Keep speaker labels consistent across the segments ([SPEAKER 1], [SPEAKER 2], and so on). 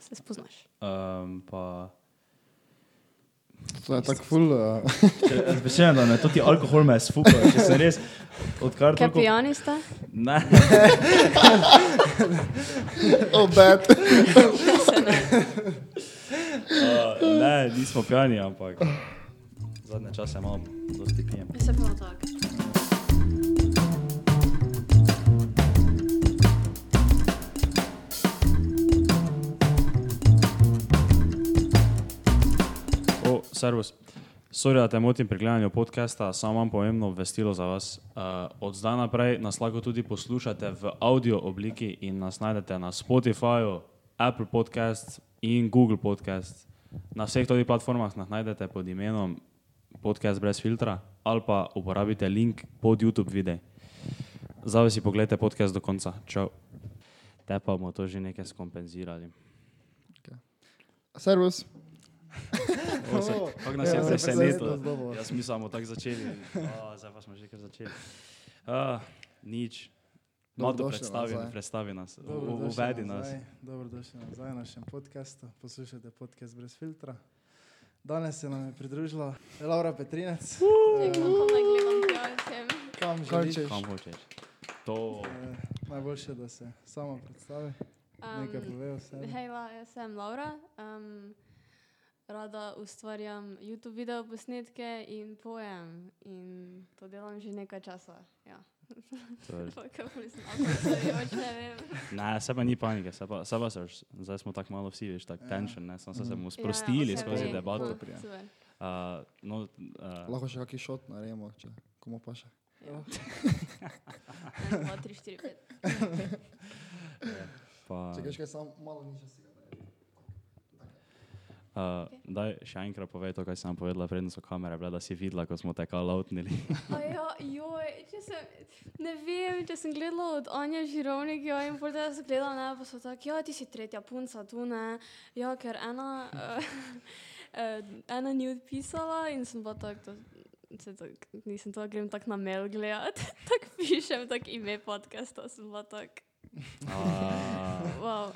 [SPEAKER 1] Se spoznaš.
[SPEAKER 2] Um, pa,
[SPEAKER 3] To je tako ful. Uh,
[SPEAKER 2] Rečeno, da ne, to ti alkohol me je sfukal, če sem res. Odkar
[SPEAKER 1] Kaj
[SPEAKER 2] toliko-
[SPEAKER 1] pijani ste?
[SPEAKER 2] Ne,
[SPEAKER 3] obet.
[SPEAKER 2] uh, ne, nismo pijani, ampak zadnje čase malo dosti pijem.
[SPEAKER 4] Jaz sem pa tak.
[SPEAKER 2] O, servus. Sorry, da te motim pri gledanju podcasta, samo imam pomembno obvestilo za vas. Uh, od zdaj naprej nas lahko tudi poslušate v audio obliki in nas najdete na Spotifyju, Apple Podcast in Google Podcast. Na vseh teh platformah nas najdete pod imenom Podcast brez filtra ali pa uporabite link pod YouTube video. Zdaj si pogledajte podcast do konca. Čau. Te pa bomo to že nekaj skompenzirali.
[SPEAKER 3] Servus.
[SPEAKER 2] O, se, kako nas je
[SPEAKER 3] Ja, se
[SPEAKER 2] presenetilo.
[SPEAKER 3] presenetilo znova.
[SPEAKER 2] Jaz mi samo tako začeli. O, zdaj pa smo že kar začeli. Uh, nič. Malo
[SPEAKER 3] Dobrodošli
[SPEAKER 2] predstavi,
[SPEAKER 3] nazaj.
[SPEAKER 2] predstavi nas, u- u-
[SPEAKER 5] Dobrodošli
[SPEAKER 2] uvedi nas.
[SPEAKER 5] nazaj, Dobrodošli nazaj na našem podkastu. Poslušajte podcast brez filtra. Danes se nam je pridružila Laura Petrinec. Eh, Kam
[SPEAKER 3] Kaj
[SPEAKER 5] želiš?
[SPEAKER 3] češ?
[SPEAKER 2] Kam hočeš? To.
[SPEAKER 5] Eh, Najboljše, da se sama predstavi, nekaj pove o
[SPEAKER 2] ja.
[SPEAKER 5] sebi.
[SPEAKER 1] Hejla, um, jaz sem Laura. Um, rada ustvarjam YouTube video posnetke in pojem. In to delam že nekaj časa. Ja.
[SPEAKER 2] to je-
[SPEAKER 1] Kako nisem avtorica, pač, ne vem.
[SPEAKER 2] Ne, se pa ni panike, se pa, se pa se, že- zdaj smo tako malo vsi, veš, tako
[SPEAKER 5] Ja.
[SPEAKER 2] tension, ne, samo se, se bomo
[SPEAKER 1] Ja,
[SPEAKER 2] sprostili
[SPEAKER 1] ja,
[SPEAKER 2] skozi
[SPEAKER 1] okej.
[SPEAKER 2] debato.
[SPEAKER 1] Aha,
[SPEAKER 5] Prije.
[SPEAKER 1] super.
[SPEAKER 2] Uh, no, uh,
[SPEAKER 3] Lahko še kakšen šot naredimo, če komu pa še.
[SPEAKER 5] Oh,
[SPEAKER 1] Ja. En, dva, tri, štiri, pet.
[SPEAKER 2] e, pa,
[SPEAKER 3] Če greš kaj samo malo nižje si ga naredi.
[SPEAKER 2] uh, daj še enkrat povej to, kaj sem vam povedala, predtem so kamere bile, da si videla, ko smo te kalautnili.
[SPEAKER 1] Aja, ja, joj, če sem, ne vem, če sem gledala od Anja Žirovnik, jo in pol tega sem gledala, ne, pa so tako, ja, ti si tretja punca tu, ne, ja, ker ena, uh, ena ni odpisala in sem pa tako, to- se tak, nisem to, grem tako na mail gledati, tako pišem, tako ime podcasta, sem pa tako,
[SPEAKER 2] Uh,
[SPEAKER 1] wow.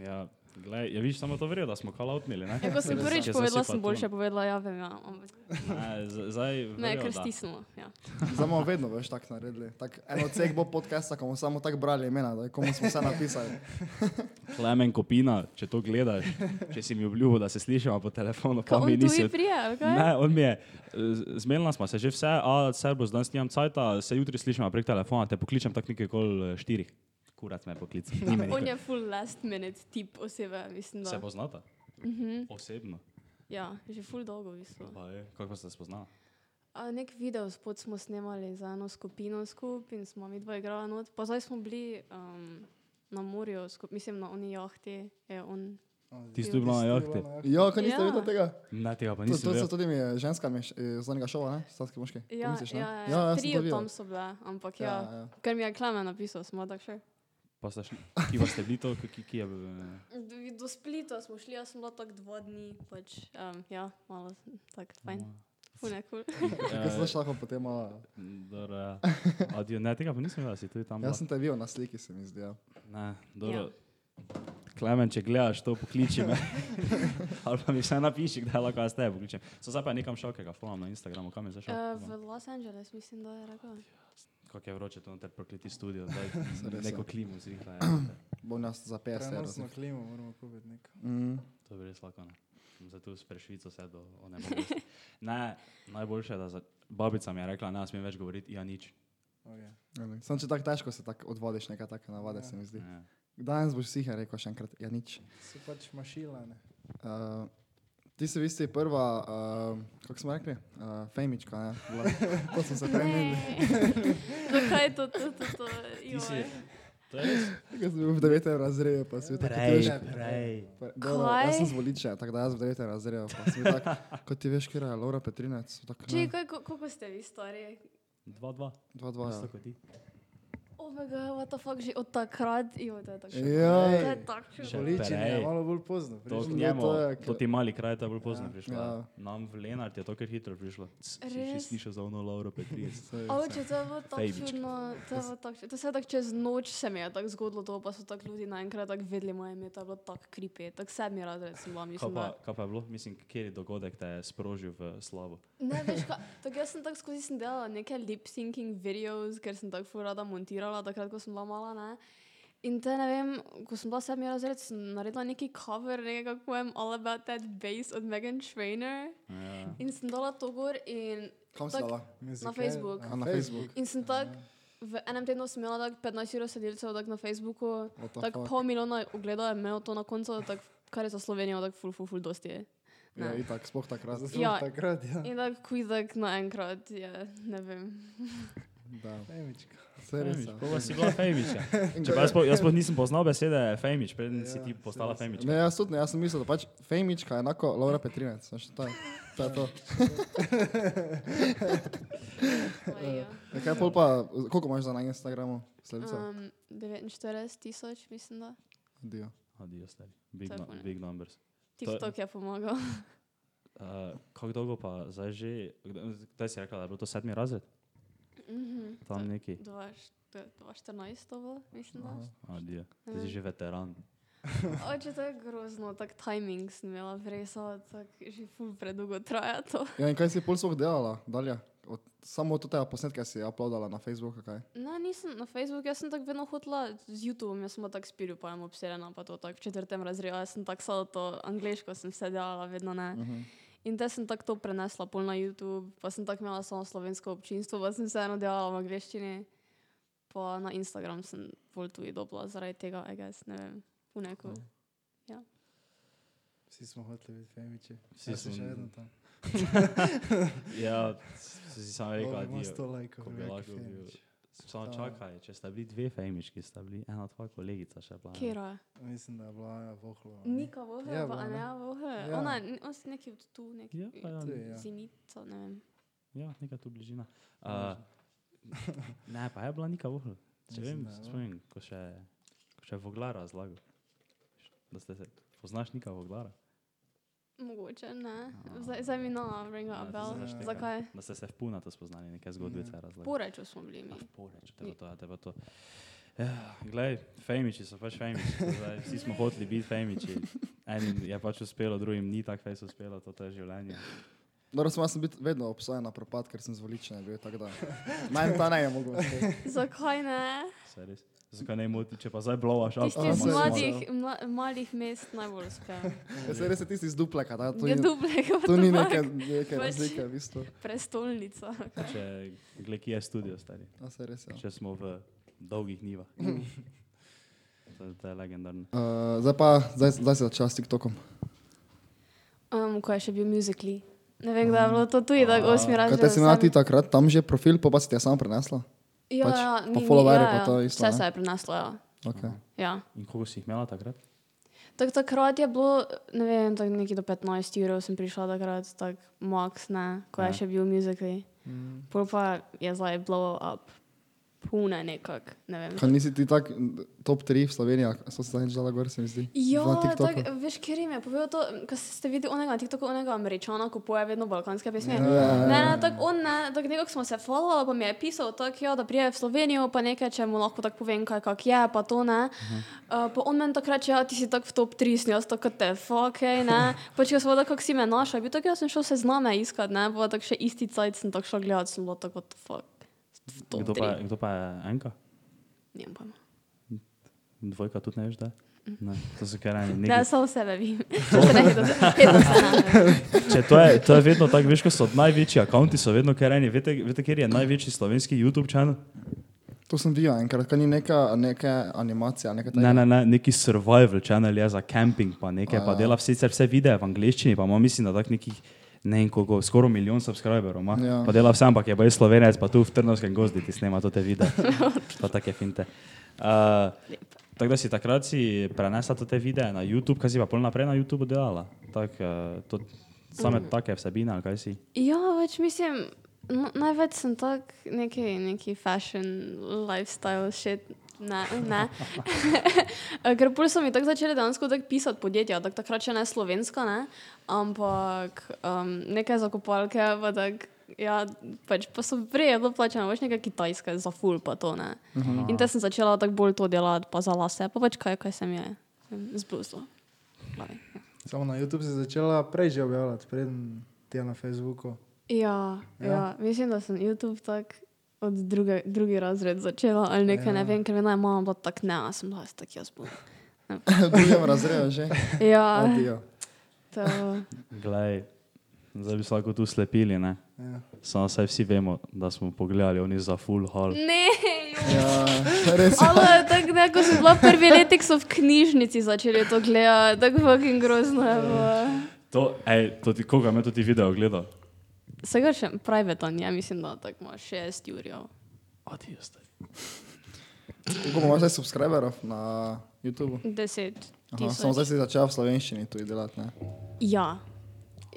[SPEAKER 2] Ja, glej, ja, viš samo to verjel, da smo kalautnili, ne?
[SPEAKER 1] Ja, ko sem prvič
[SPEAKER 2] Če
[SPEAKER 1] povedala,
[SPEAKER 2] zasipa
[SPEAKER 1] sem
[SPEAKER 2] tu.
[SPEAKER 1] boljše povedala, ja, vem, ja, ampak
[SPEAKER 2] Ne, z- zdaj
[SPEAKER 1] ne,
[SPEAKER 2] verjel,
[SPEAKER 1] ker
[SPEAKER 2] da.
[SPEAKER 1] stisnemo, ja.
[SPEAKER 3] Zdaj bomo vedno več tako naredili. Tak, eno od vseh bo podcasta, ko bomo samo tako brali imena, da komu smo vse napisali.
[SPEAKER 2] Klemen Kopina, če to gledaš, če si mi obljubil, da se slišimo po telefonu,
[SPEAKER 1] Ko
[SPEAKER 2] pa mi
[SPEAKER 1] on tu
[SPEAKER 2] nisi...
[SPEAKER 1] je
[SPEAKER 2] od-
[SPEAKER 1] prije, ali kaj?
[SPEAKER 2] Ne, on mi je, z- zmenila smo se že vse, a servus, danes nimam cajta, se jutri slišimo prek telefona, te pokličem tak nekaj kol eh, štirih. Kurat me poklic.
[SPEAKER 1] On je full last minute tip osebe, mislim. Da.
[SPEAKER 2] Se poznata?
[SPEAKER 1] Mhm,
[SPEAKER 2] Osebno.
[SPEAKER 1] ja, že full dolgo v bistvu.
[SPEAKER 2] Pa je, Kako pa ste se spoznala?
[SPEAKER 1] A, nek video spod smo snemali za eno skupino skupaj in smo mi dva igrala not. Pa zdaj smo bili um, na morju, skup, mislim na oni jahti. Je on.
[SPEAKER 2] Ti si tu bila na jahti?
[SPEAKER 3] Ja, kaj niste
[SPEAKER 1] Ja.
[SPEAKER 3] videli tega?
[SPEAKER 2] Ne, tega pa
[SPEAKER 3] To,
[SPEAKER 2] nisem
[SPEAKER 3] to so
[SPEAKER 2] vedel.
[SPEAKER 3] tudi mi je ženska mi je š- iz zadnjega šova, ne? Stanski moški. To
[SPEAKER 1] Ja,
[SPEAKER 3] misliš, ne?
[SPEAKER 1] ja,
[SPEAKER 3] ja,
[SPEAKER 1] ja,
[SPEAKER 3] ja,
[SPEAKER 1] ja,
[SPEAKER 3] sem to
[SPEAKER 1] tri
[SPEAKER 3] videl.
[SPEAKER 1] tam so bile, ampak ja,
[SPEAKER 3] Ja,
[SPEAKER 1] ja,
[SPEAKER 3] ja.
[SPEAKER 1] ker mi je Klemen napisal, smo tako še.
[SPEAKER 2] Pa ste šli, ki pa ste bili to, ki, ki je... eh,
[SPEAKER 1] Do, do Splita smo šli, jaz sem bila tako dva dni, pač um, ja, malo tako fajn. Fune, cool.
[SPEAKER 3] Kaj
[SPEAKER 2] eh,
[SPEAKER 3] si šla potem? a?
[SPEAKER 2] Dobro, ja. Adijo, ne, tega pa nisem videl, da si tudi tam. bila.
[SPEAKER 3] Jaz sem te videl na sliki, se mi zdi. Ja.
[SPEAKER 2] Ne, dobro. Klemen, če gledaš to, pokliči me. Ali pa mi vsaj napiši, kdaj lahko jaz tebe pokličem. So zdaj pa nekam šel, ki ga folam na Instagramu, kam je zašel.
[SPEAKER 1] Uh,
[SPEAKER 3] no.
[SPEAKER 1] v Los Angeles mislim, da je rekel.
[SPEAKER 2] Kako je vroče, to noter prokleti studio, da
[SPEAKER 3] Res je.
[SPEAKER 2] neko klimo zrihla. ja.
[SPEAKER 3] Bom jaz za 50 evrov.
[SPEAKER 5] Prenosno klimo moramo kupiti neko.
[SPEAKER 3] Mm.
[SPEAKER 2] To je res lahko. no. ne. Bom Zato s prešvico se do onemogoča. Ne, najboljše je, da za... babica mi je rekla, ne smem več govoriti, ja nič.
[SPEAKER 5] Okay.
[SPEAKER 3] ali. Samo če tako težko se tako odvodiš, nekaj taka navada se mi zdi.
[SPEAKER 2] Ne.
[SPEAKER 3] Danes boš siha rekel še enkrat, ja nič.
[SPEAKER 5] Si pač mašila, ne?
[SPEAKER 3] Uh, ti si v bistvu prva, uh, kako smo rekli, uh, fejmička, ne? Bila. To smo se fejmili.
[SPEAKER 1] Zakaj je to, to, to, to,
[SPEAKER 2] Ti si...
[SPEAKER 1] joj.
[SPEAKER 2] To je res.
[SPEAKER 3] Jaz sem bil v 9. razredu, pa sem bil tako kot veš.
[SPEAKER 2] prej.
[SPEAKER 3] pa- dobro, Jaz
[SPEAKER 1] Kaj?
[SPEAKER 3] sem zvoliče, tako da jaz v 9. razredu, pa sem bil tak, kot ti veš, kjer je Laura Petrinec, tako
[SPEAKER 1] Čekaj, kako ste vi stari?
[SPEAKER 2] 2-2.
[SPEAKER 3] 2-2.
[SPEAKER 2] Isto kot ti.
[SPEAKER 1] Omega, Oh what the fuck, že od takrat, jo, to je tako. šok.
[SPEAKER 3] Joj.
[SPEAKER 1] To je tako. šok.
[SPEAKER 2] Še
[SPEAKER 5] Poličenje je
[SPEAKER 2] prej.
[SPEAKER 5] malo bolj pozno.
[SPEAKER 2] To,
[SPEAKER 5] prišlo.
[SPEAKER 2] k
[SPEAKER 3] Ja,
[SPEAKER 2] njemu,
[SPEAKER 3] to je,
[SPEAKER 2] to
[SPEAKER 3] ker-
[SPEAKER 2] ti mali kraj, to je bilo pozno
[SPEAKER 5] Ja.
[SPEAKER 2] prišlo.
[SPEAKER 3] Ja.
[SPEAKER 2] Nam v Lenart je to kar hitro prišlo. Si še
[SPEAKER 1] Res?
[SPEAKER 2] slišal za ono Lauro Petric.
[SPEAKER 1] A oče, to je bilo tako
[SPEAKER 2] Fejbička.
[SPEAKER 1] čudno, to je bilo tako čudno. To se je tako čez noč se mi je tako zgodilo, to pa so tako ljudi naenkrat tako vedeli moje ime, to je bilo tako kripe, tako sedmi razred sem bila,
[SPEAKER 2] Kaj
[SPEAKER 1] mislim,
[SPEAKER 2] pa,
[SPEAKER 1] da.
[SPEAKER 2] kaj pa je bilo? Mislim, kjer je dogodek te je sprožil v slavo.
[SPEAKER 1] Ne, veš, kaj, tako jaz sem tako skozi sem delala neke lip-syncing videos, ker sem tako ful rada montirala, takrat, ko sem bila mala, ne. In te ne vem, ko sem bila sedmi razred, sem naredila neki cover, nekega, kako vem, All About That Bass od Megan Trainor
[SPEAKER 2] Ja.
[SPEAKER 1] in sem dala to gor in
[SPEAKER 3] Kam si
[SPEAKER 1] Tako-
[SPEAKER 3] dala?
[SPEAKER 5] Muzikal-
[SPEAKER 1] Facebook.
[SPEAKER 5] Aha,
[SPEAKER 3] A, na Facebook.
[SPEAKER 1] In sem tako
[SPEAKER 5] Ja,
[SPEAKER 1] v enem tednu sem imela tako 15 ur sledilcev tako na Facebooku,
[SPEAKER 3] What the
[SPEAKER 1] tako
[SPEAKER 3] fuck?
[SPEAKER 1] pol milijona ogledov je imel to na koncu, tako kar je za Slovenijo tako ful, ful, ful dosti. je.
[SPEAKER 3] Ja,
[SPEAKER 1] Ne.
[SPEAKER 3] itak, sploh takrat.
[SPEAKER 5] Zato smo
[SPEAKER 1] Ja.
[SPEAKER 5] Takrat, ja.
[SPEAKER 1] In tako kvizak naenkrat je, ne vem.
[SPEAKER 3] Da,
[SPEAKER 5] Fejmička.
[SPEAKER 3] se res. ja.
[SPEAKER 2] Kako si bila Fejmiča? Čeprav jaz, sploh- jaz sploh nisem poznal besede Fejmič, preden si
[SPEAKER 5] Ja,
[SPEAKER 2] ti postala
[SPEAKER 5] saj
[SPEAKER 2] Fejmič.
[SPEAKER 3] Ne, jaz tudi ne, jaz sem mislil, da pač Fejmička je enako Laura Petrinec, znaš, to je, to je to.
[SPEAKER 1] kaj je.
[SPEAKER 3] Ja, Kaj pol pa, koliko imaš za na Instagramu sledilcev?
[SPEAKER 1] Um, 49 tisoč, mislim da.
[SPEAKER 3] Dio.
[SPEAKER 2] Adijo, stari. Big,
[SPEAKER 1] Tako
[SPEAKER 2] nu-
[SPEAKER 1] ne.
[SPEAKER 2] big numbers.
[SPEAKER 1] TikTok je pomagal.
[SPEAKER 2] Uh, kako dolgo pa zdaj že, kdaj- kdaj si rekla, da je bilo to sedmi razred?
[SPEAKER 1] Mhm.
[SPEAKER 2] Tam neki.
[SPEAKER 1] 2014 to bilo, mislim da.
[SPEAKER 3] Aha.
[SPEAKER 2] Adijo. Ti si že veteran.
[SPEAKER 1] Oče, to je grozno, tak timing sem imela, res, tako že ful predugo traja to.
[SPEAKER 3] Ja, in kaj si pol sploh delala dalje? Od, samo od tega posnetka si uploadala na Facebook, kaj?
[SPEAKER 1] No, nisem na Facebooku, jaz sem tako vedno hodila z YouTubeom, jaz sem bila tako spil, pa jim obsedena, pa to tako v četrtem razredu, jaz sem tako sala to angliško, sem se delala, vedno ne. Uh
[SPEAKER 3] Mhm.
[SPEAKER 1] -huh. In te sem tako to prenesla pol na YouTube, pa sem tako imela samo slovensko občinstvo, pa sem se eno delala v angliščini, pa na Instagram sem bolj tuji dobila zaradi tega, a jaz ne vem, v neko.
[SPEAKER 5] Vsi smo hoteli biti Fejmiči.
[SPEAKER 2] Vsi
[SPEAKER 5] Vsi smo še
[SPEAKER 2] smo-
[SPEAKER 5] vedno tam.
[SPEAKER 2] Ja, si si sam rekel,
[SPEAKER 5] Imamo
[SPEAKER 2] adijo.
[SPEAKER 5] 100 lajkov.
[SPEAKER 2] Ko bi
[SPEAKER 5] veliki
[SPEAKER 2] lahko bil.
[SPEAKER 5] Fejmič.
[SPEAKER 2] Samo
[SPEAKER 5] Ta-
[SPEAKER 2] čakaj, če sta bili dve Fejmički, sta bili ena tvoja kolegica še bila. ne?
[SPEAKER 1] Kera?
[SPEAKER 5] Mislim, da je bila ja, vohlo.
[SPEAKER 1] Nika vohe,
[SPEAKER 5] Ja,
[SPEAKER 1] pa
[SPEAKER 5] bila, ne?
[SPEAKER 1] Anja vohe.
[SPEAKER 5] Ja.
[SPEAKER 1] Ona, on si nekje od tu, nekje
[SPEAKER 2] Ja, pa ja.
[SPEAKER 5] Tu je, ja.
[SPEAKER 1] zinica, ne vem.
[SPEAKER 2] Ja, neka tu bližina. Uh, ne, pa je bila neka vohl. Če
[SPEAKER 5] Mislim,
[SPEAKER 2] vem,
[SPEAKER 5] da je bila.
[SPEAKER 2] spomnim, ko še, ko še Voglara razlagal. Da ste se, poznaš neka Voglara?
[SPEAKER 1] Mogoče ne.
[SPEAKER 2] A.
[SPEAKER 1] Zdaj, zdaj mi nova ringa
[SPEAKER 2] Ja,
[SPEAKER 1] a
[SPEAKER 2] to
[SPEAKER 1] bell.
[SPEAKER 5] znaš nekaj.
[SPEAKER 1] Zakaj?
[SPEAKER 2] Da ste se v Punato spoznali, neke zgodbice razlagal.
[SPEAKER 1] Poreču smo bili mi.
[SPEAKER 2] Ah, Poreč, te pa to, ja, te pa to. Ja, glej, fejmiči so pač fejmiči, zdaj, vsi smo hoteli biti fejmiči. Enim je pač uspelo, drugim ni tako fejs uspelo, to je življenje.
[SPEAKER 3] Dobro, sem jaz sem bil vedno obsojen na propad, ker sem zvoličen bil, tako da. Manj ta ne je mogel.
[SPEAKER 1] Zakaj ne?
[SPEAKER 2] Saj res. Zakaj ne moti, če pa zdaj blovaš up?
[SPEAKER 1] Tisti
[SPEAKER 3] a,
[SPEAKER 1] iz
[SPEAKER 3] saj-
[SPEAKER 1] mladih, mla, malih mest najbolj uspejo.
[SPEAKER 3] Ja, se res je tisti iz dupleka, da, to,
[SPEAKER 1] Je
[SPEAKER 3] ni,
[SPEAKER 1] dublega,
[SPEAKER 3] to ni
[SPEAKER 1] ampak
[SPEAKER 3] neke, neke
[SPEAKER 1] Ja, Pač.
[SPEAKER 3] razlike, v bistvu.
[SPEAKER 1] prestolnica.
[SPEAKER 2] Če, glej, kje je studio, stari.
[SPEAKER 3] Ja, se res je.
[SPEAKER 2] Če smo v dolgih nivah. To, to je legendarno.
[SPEAKER 3] Uh, zdaj pa, zdaj, zdaj se začne s TikTokom.
[SPEAKER 1] Um, ko je še bil muzikli. Ne vem, kdaj je bilo to tudi, da osmi
[SPEAKER 3] Kaj
[SPEAKER 1] razred.
[SPEAKER 3] Mm. te si imela ti takrat, tam že profil, pa pa si ti ga sam prenesla?
[SPEAKER 1] Ja,
[SPEAKER 3] pač,
[SPEAKER 1] ja,
[SPEAKER 3] pa
[SPEAKER 1] ni- ni-
[SPEAKER 3] followerje
[SPEAKER 1] ja,
[SPEAKER 3] pa
[SPEAKER 1] ja.
[SPEAKER 3] to isto,
[SPEAKER 1] Vse
[SPEAKER 3] ne?
[SPEAKER 1] se je preneslo, ja.
[SPEAKER 3] Okay.
[SPEAKER 1] ja.
[SPEAKER 2] In koliko si jih imela takrat?
[SPEAKER 1] Tak, takrat je bilo, ne vem, tako nekje do 15 ur sem prišla takrat, tako max, ne, ko
[SPEAKER 2] Ja.
[SPEAKER 1] je še bil muzikli.
[SPEAKER 3] Mm.
[SPEAKER 1] Pol pa je zdaj blow up, pune nekako, ne vem.
[SPEAKER 3] Kaj nisi ti tak m, top 3 v Sloveniji, a so se zadnjič dala gor, se mi zdi.
[SPEAKER 1] Ja,
[SPEAKER 3] na TikToku.
[SPEAKER 1] tako, veš, kjer jim je povedal to, mm, ko ste videli onega, na TikToku onega američana, ko poje vedno balkanske pesmi.
[SPEAKER 3] Ja, ja,
[SPEAKER 1] Ne,
[SPEAKER 3] ja.
[SPEAKER 1] ne, tako on ne, tako nekako smo se followali, pa mi je pisal, tako, ja, da prije v Slovenijo, pa nekaj, če mu lahko tako povem, kaj kak je, pa to ne.
[SPEAKER 3] Mhm.
[SPEAKER 1] Uh, pa on meni takrat reče, ja, ti si tako v top 3, sem jaz tako te, fuck, ej, ne. Pa če smo tako, kako si me našel, bi tako, jaz sem šel sezname iskat, ne, pa tako še isti cajt sem tako šel gledat, sem bilo tako, what the fuck. v top
[SPEAKER 2] Kdo pa,
[SPEAKER 1] tri."
[SPEAKER 2] kdo pa je enka?
[SPEAKER 1] Nimam pojma.
[SPEAKER 2] Dvojka tudi ne veš, da? je?
[SPEAKER 1] Mhm.
[SPEAKER 2] Ne, to so kar eni. neki-
[SPEAKER 1] Ne, samo sebe vidim. Saj se ne hecam, hecam se ne.
[SPEAKER 2] Če to je, to je vedno tako, veš, ko so največji akonti, so vedno kar eni. Veste, veste, kjer je največji slovenski YouTube kanal?
[SPEAKER 3] To sem videl enkrat, kaj ni neka, neka animacija, neka
[SPEAKER 2] Ne,
[SPEAKER 3] tajna.
[SPEAKER 2] ne, ne, neki survival kanal je za kamping, pa nekaj, pa dela sicer vse videe v angleščini, pa ima mislim, da tak nekih, ne vem koliko, skoraj milijon subscriberov ima.
[SPEAKER 3] Ja.
[SPEAKER 2] Pa dela vse, ampak je pa je slovenec, pa tu v Trnovskem gozdu ti snema to te videe. Pa take finte. Uh, tako da si takrat si prenesla to te videe na YouTube, kaj si pa pol naprej na YouTube eh, delala. Tak, uh, to, same take vsebine, ali kaj si?
[SPEAKER 1] Ja, več mislim, No, največ sem tak neki, neki fashion, lifestyle shit. Ne, ne. Ker prvi so mi tako začeli dejansko tako pisati podjetja, tako takrat še ne slovenska, ne? ampak um, neke zakopalke, pa tak, ja, pač pa so prej je bilo plačano, več neka kitajska, za full pa to ne. In te sem začela tako bolj to delati, pa za lase, pa pač kaj, kaj sem je zbrusila. Glavi, ja.
[SPEAKER 5] Samo na YouTube si začela prej že objavljati, preden ti je na Facebooku.
[SPEAKER 1] Ja,
[SPEAKER 5] Ja.
[SPEAKER 1] ja. ja, mislim, da sem YouTube tako od druge, drugi razred začela ali nekaj, ja.
[SPEAKER 5] Ja.
[SPEAKER 1] ne vem, ker vedno je mama bila tako ne, a sem bila jaz tako jaz bom.
[SPEAKER 3] V drugem razredu že.
[SPEAKER 1] Ja,
[SPEAKER 3] Adijo.
[SPEAKER 1] to,
[SPEAKER 2] Glej, zdaj bi se lahko tu slepili, ne?
[SPEAKER 5] Ja.
[SPEAKER 2] Samo saj vsi vemo, da smo pogledali oni za full hall.
[SPEAKER 1] ne,
[SPEAKER 3] Ja, res.
[SPEAKER 1] ali tako ne, ko sem bila prvi letek, so v knjižnici začeli to gledati, tako fucking grozno je
[SPEAKER 3] Ja.
[SPEAKER 1] bilo.
[SPEAKER 2] To, ej, to ti, koga me to ti video gleda?
[SPEAKER 1] Se ga še private on, ja mislim, da tako ima šest ja. jurjev.
[SPEAKER 2] Adijo ste.
[SPEAKER 3] Koliko imaš zdaj subscriberov na YouTubu?
[SPEAKER 1] Deset.
[SPEAKER 3] Aha,
[SPEAKER 1] tisoč.
[SPEAKER 3] samo zdaj si začel v slovenščini tudi delati, ne?
[SPEAKER 1] Ja.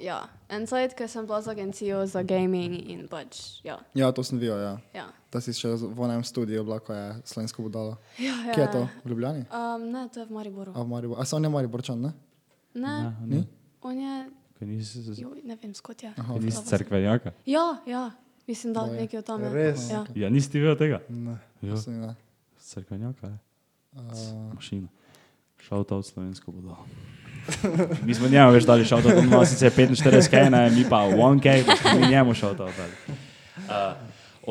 [SPEAKER 1] Ja, en sajt, ker sem bila z agencijo za gaming in pač, ja.
[SPEAKER 3] Ja, to sem videl, ja.
[SPEAKER 1] ja.
[SPEAKER 3] Da si še v onem studiu bila, ko je slovensko budalo.
[SPEAKER 1] ja, ja.
[SPEAKER 3] Kje je to? V Ljubljani?
[SPEAKER 1] Um, ne, to je v Mariboru.
[SPEAKER 3] A, v Mariboru. A samo ne Mariborčan, ne?
[SPEAKER 1] Ne,
[SPEAKER 2] Ja, ne.
[SPEAKER 1] on je,
[SPEAKER 2] Ko nisi,
[SPEAKER 1] joj, ne vem, skot je.
[SPEAKER 3] Aha,
[SPEAKER 2] ko
[SPEAKER 3] ok.
[SPEAKER 2] nisi cerkvenjaka.
[SPEAKER 1] Ja, ja, mislim, da
[SPEAKER 3] Moje.
[SPEAKER 1] nekaj od tam je.
[SPEAKER 5] Res?
[SPEAKER 1] Ja.
[SPEAKER 2] Ja, nisi ti vedel tega?
[SPEAKER 5] Ne.
[SPEAKER 2] Ja,
[SPEAKER 3] Sem, ne.
[SPEAKER 2] cerkvenjaka je.
[SPEAKER 3] Uh,
[SPEAKER 2] Mašina. Šauta od slovensko bodo. Mi smo njemu več dali šauta, on ima sicer 45k, ne, mi pa 1k, pa smo mi njemu šauta dali. Uh,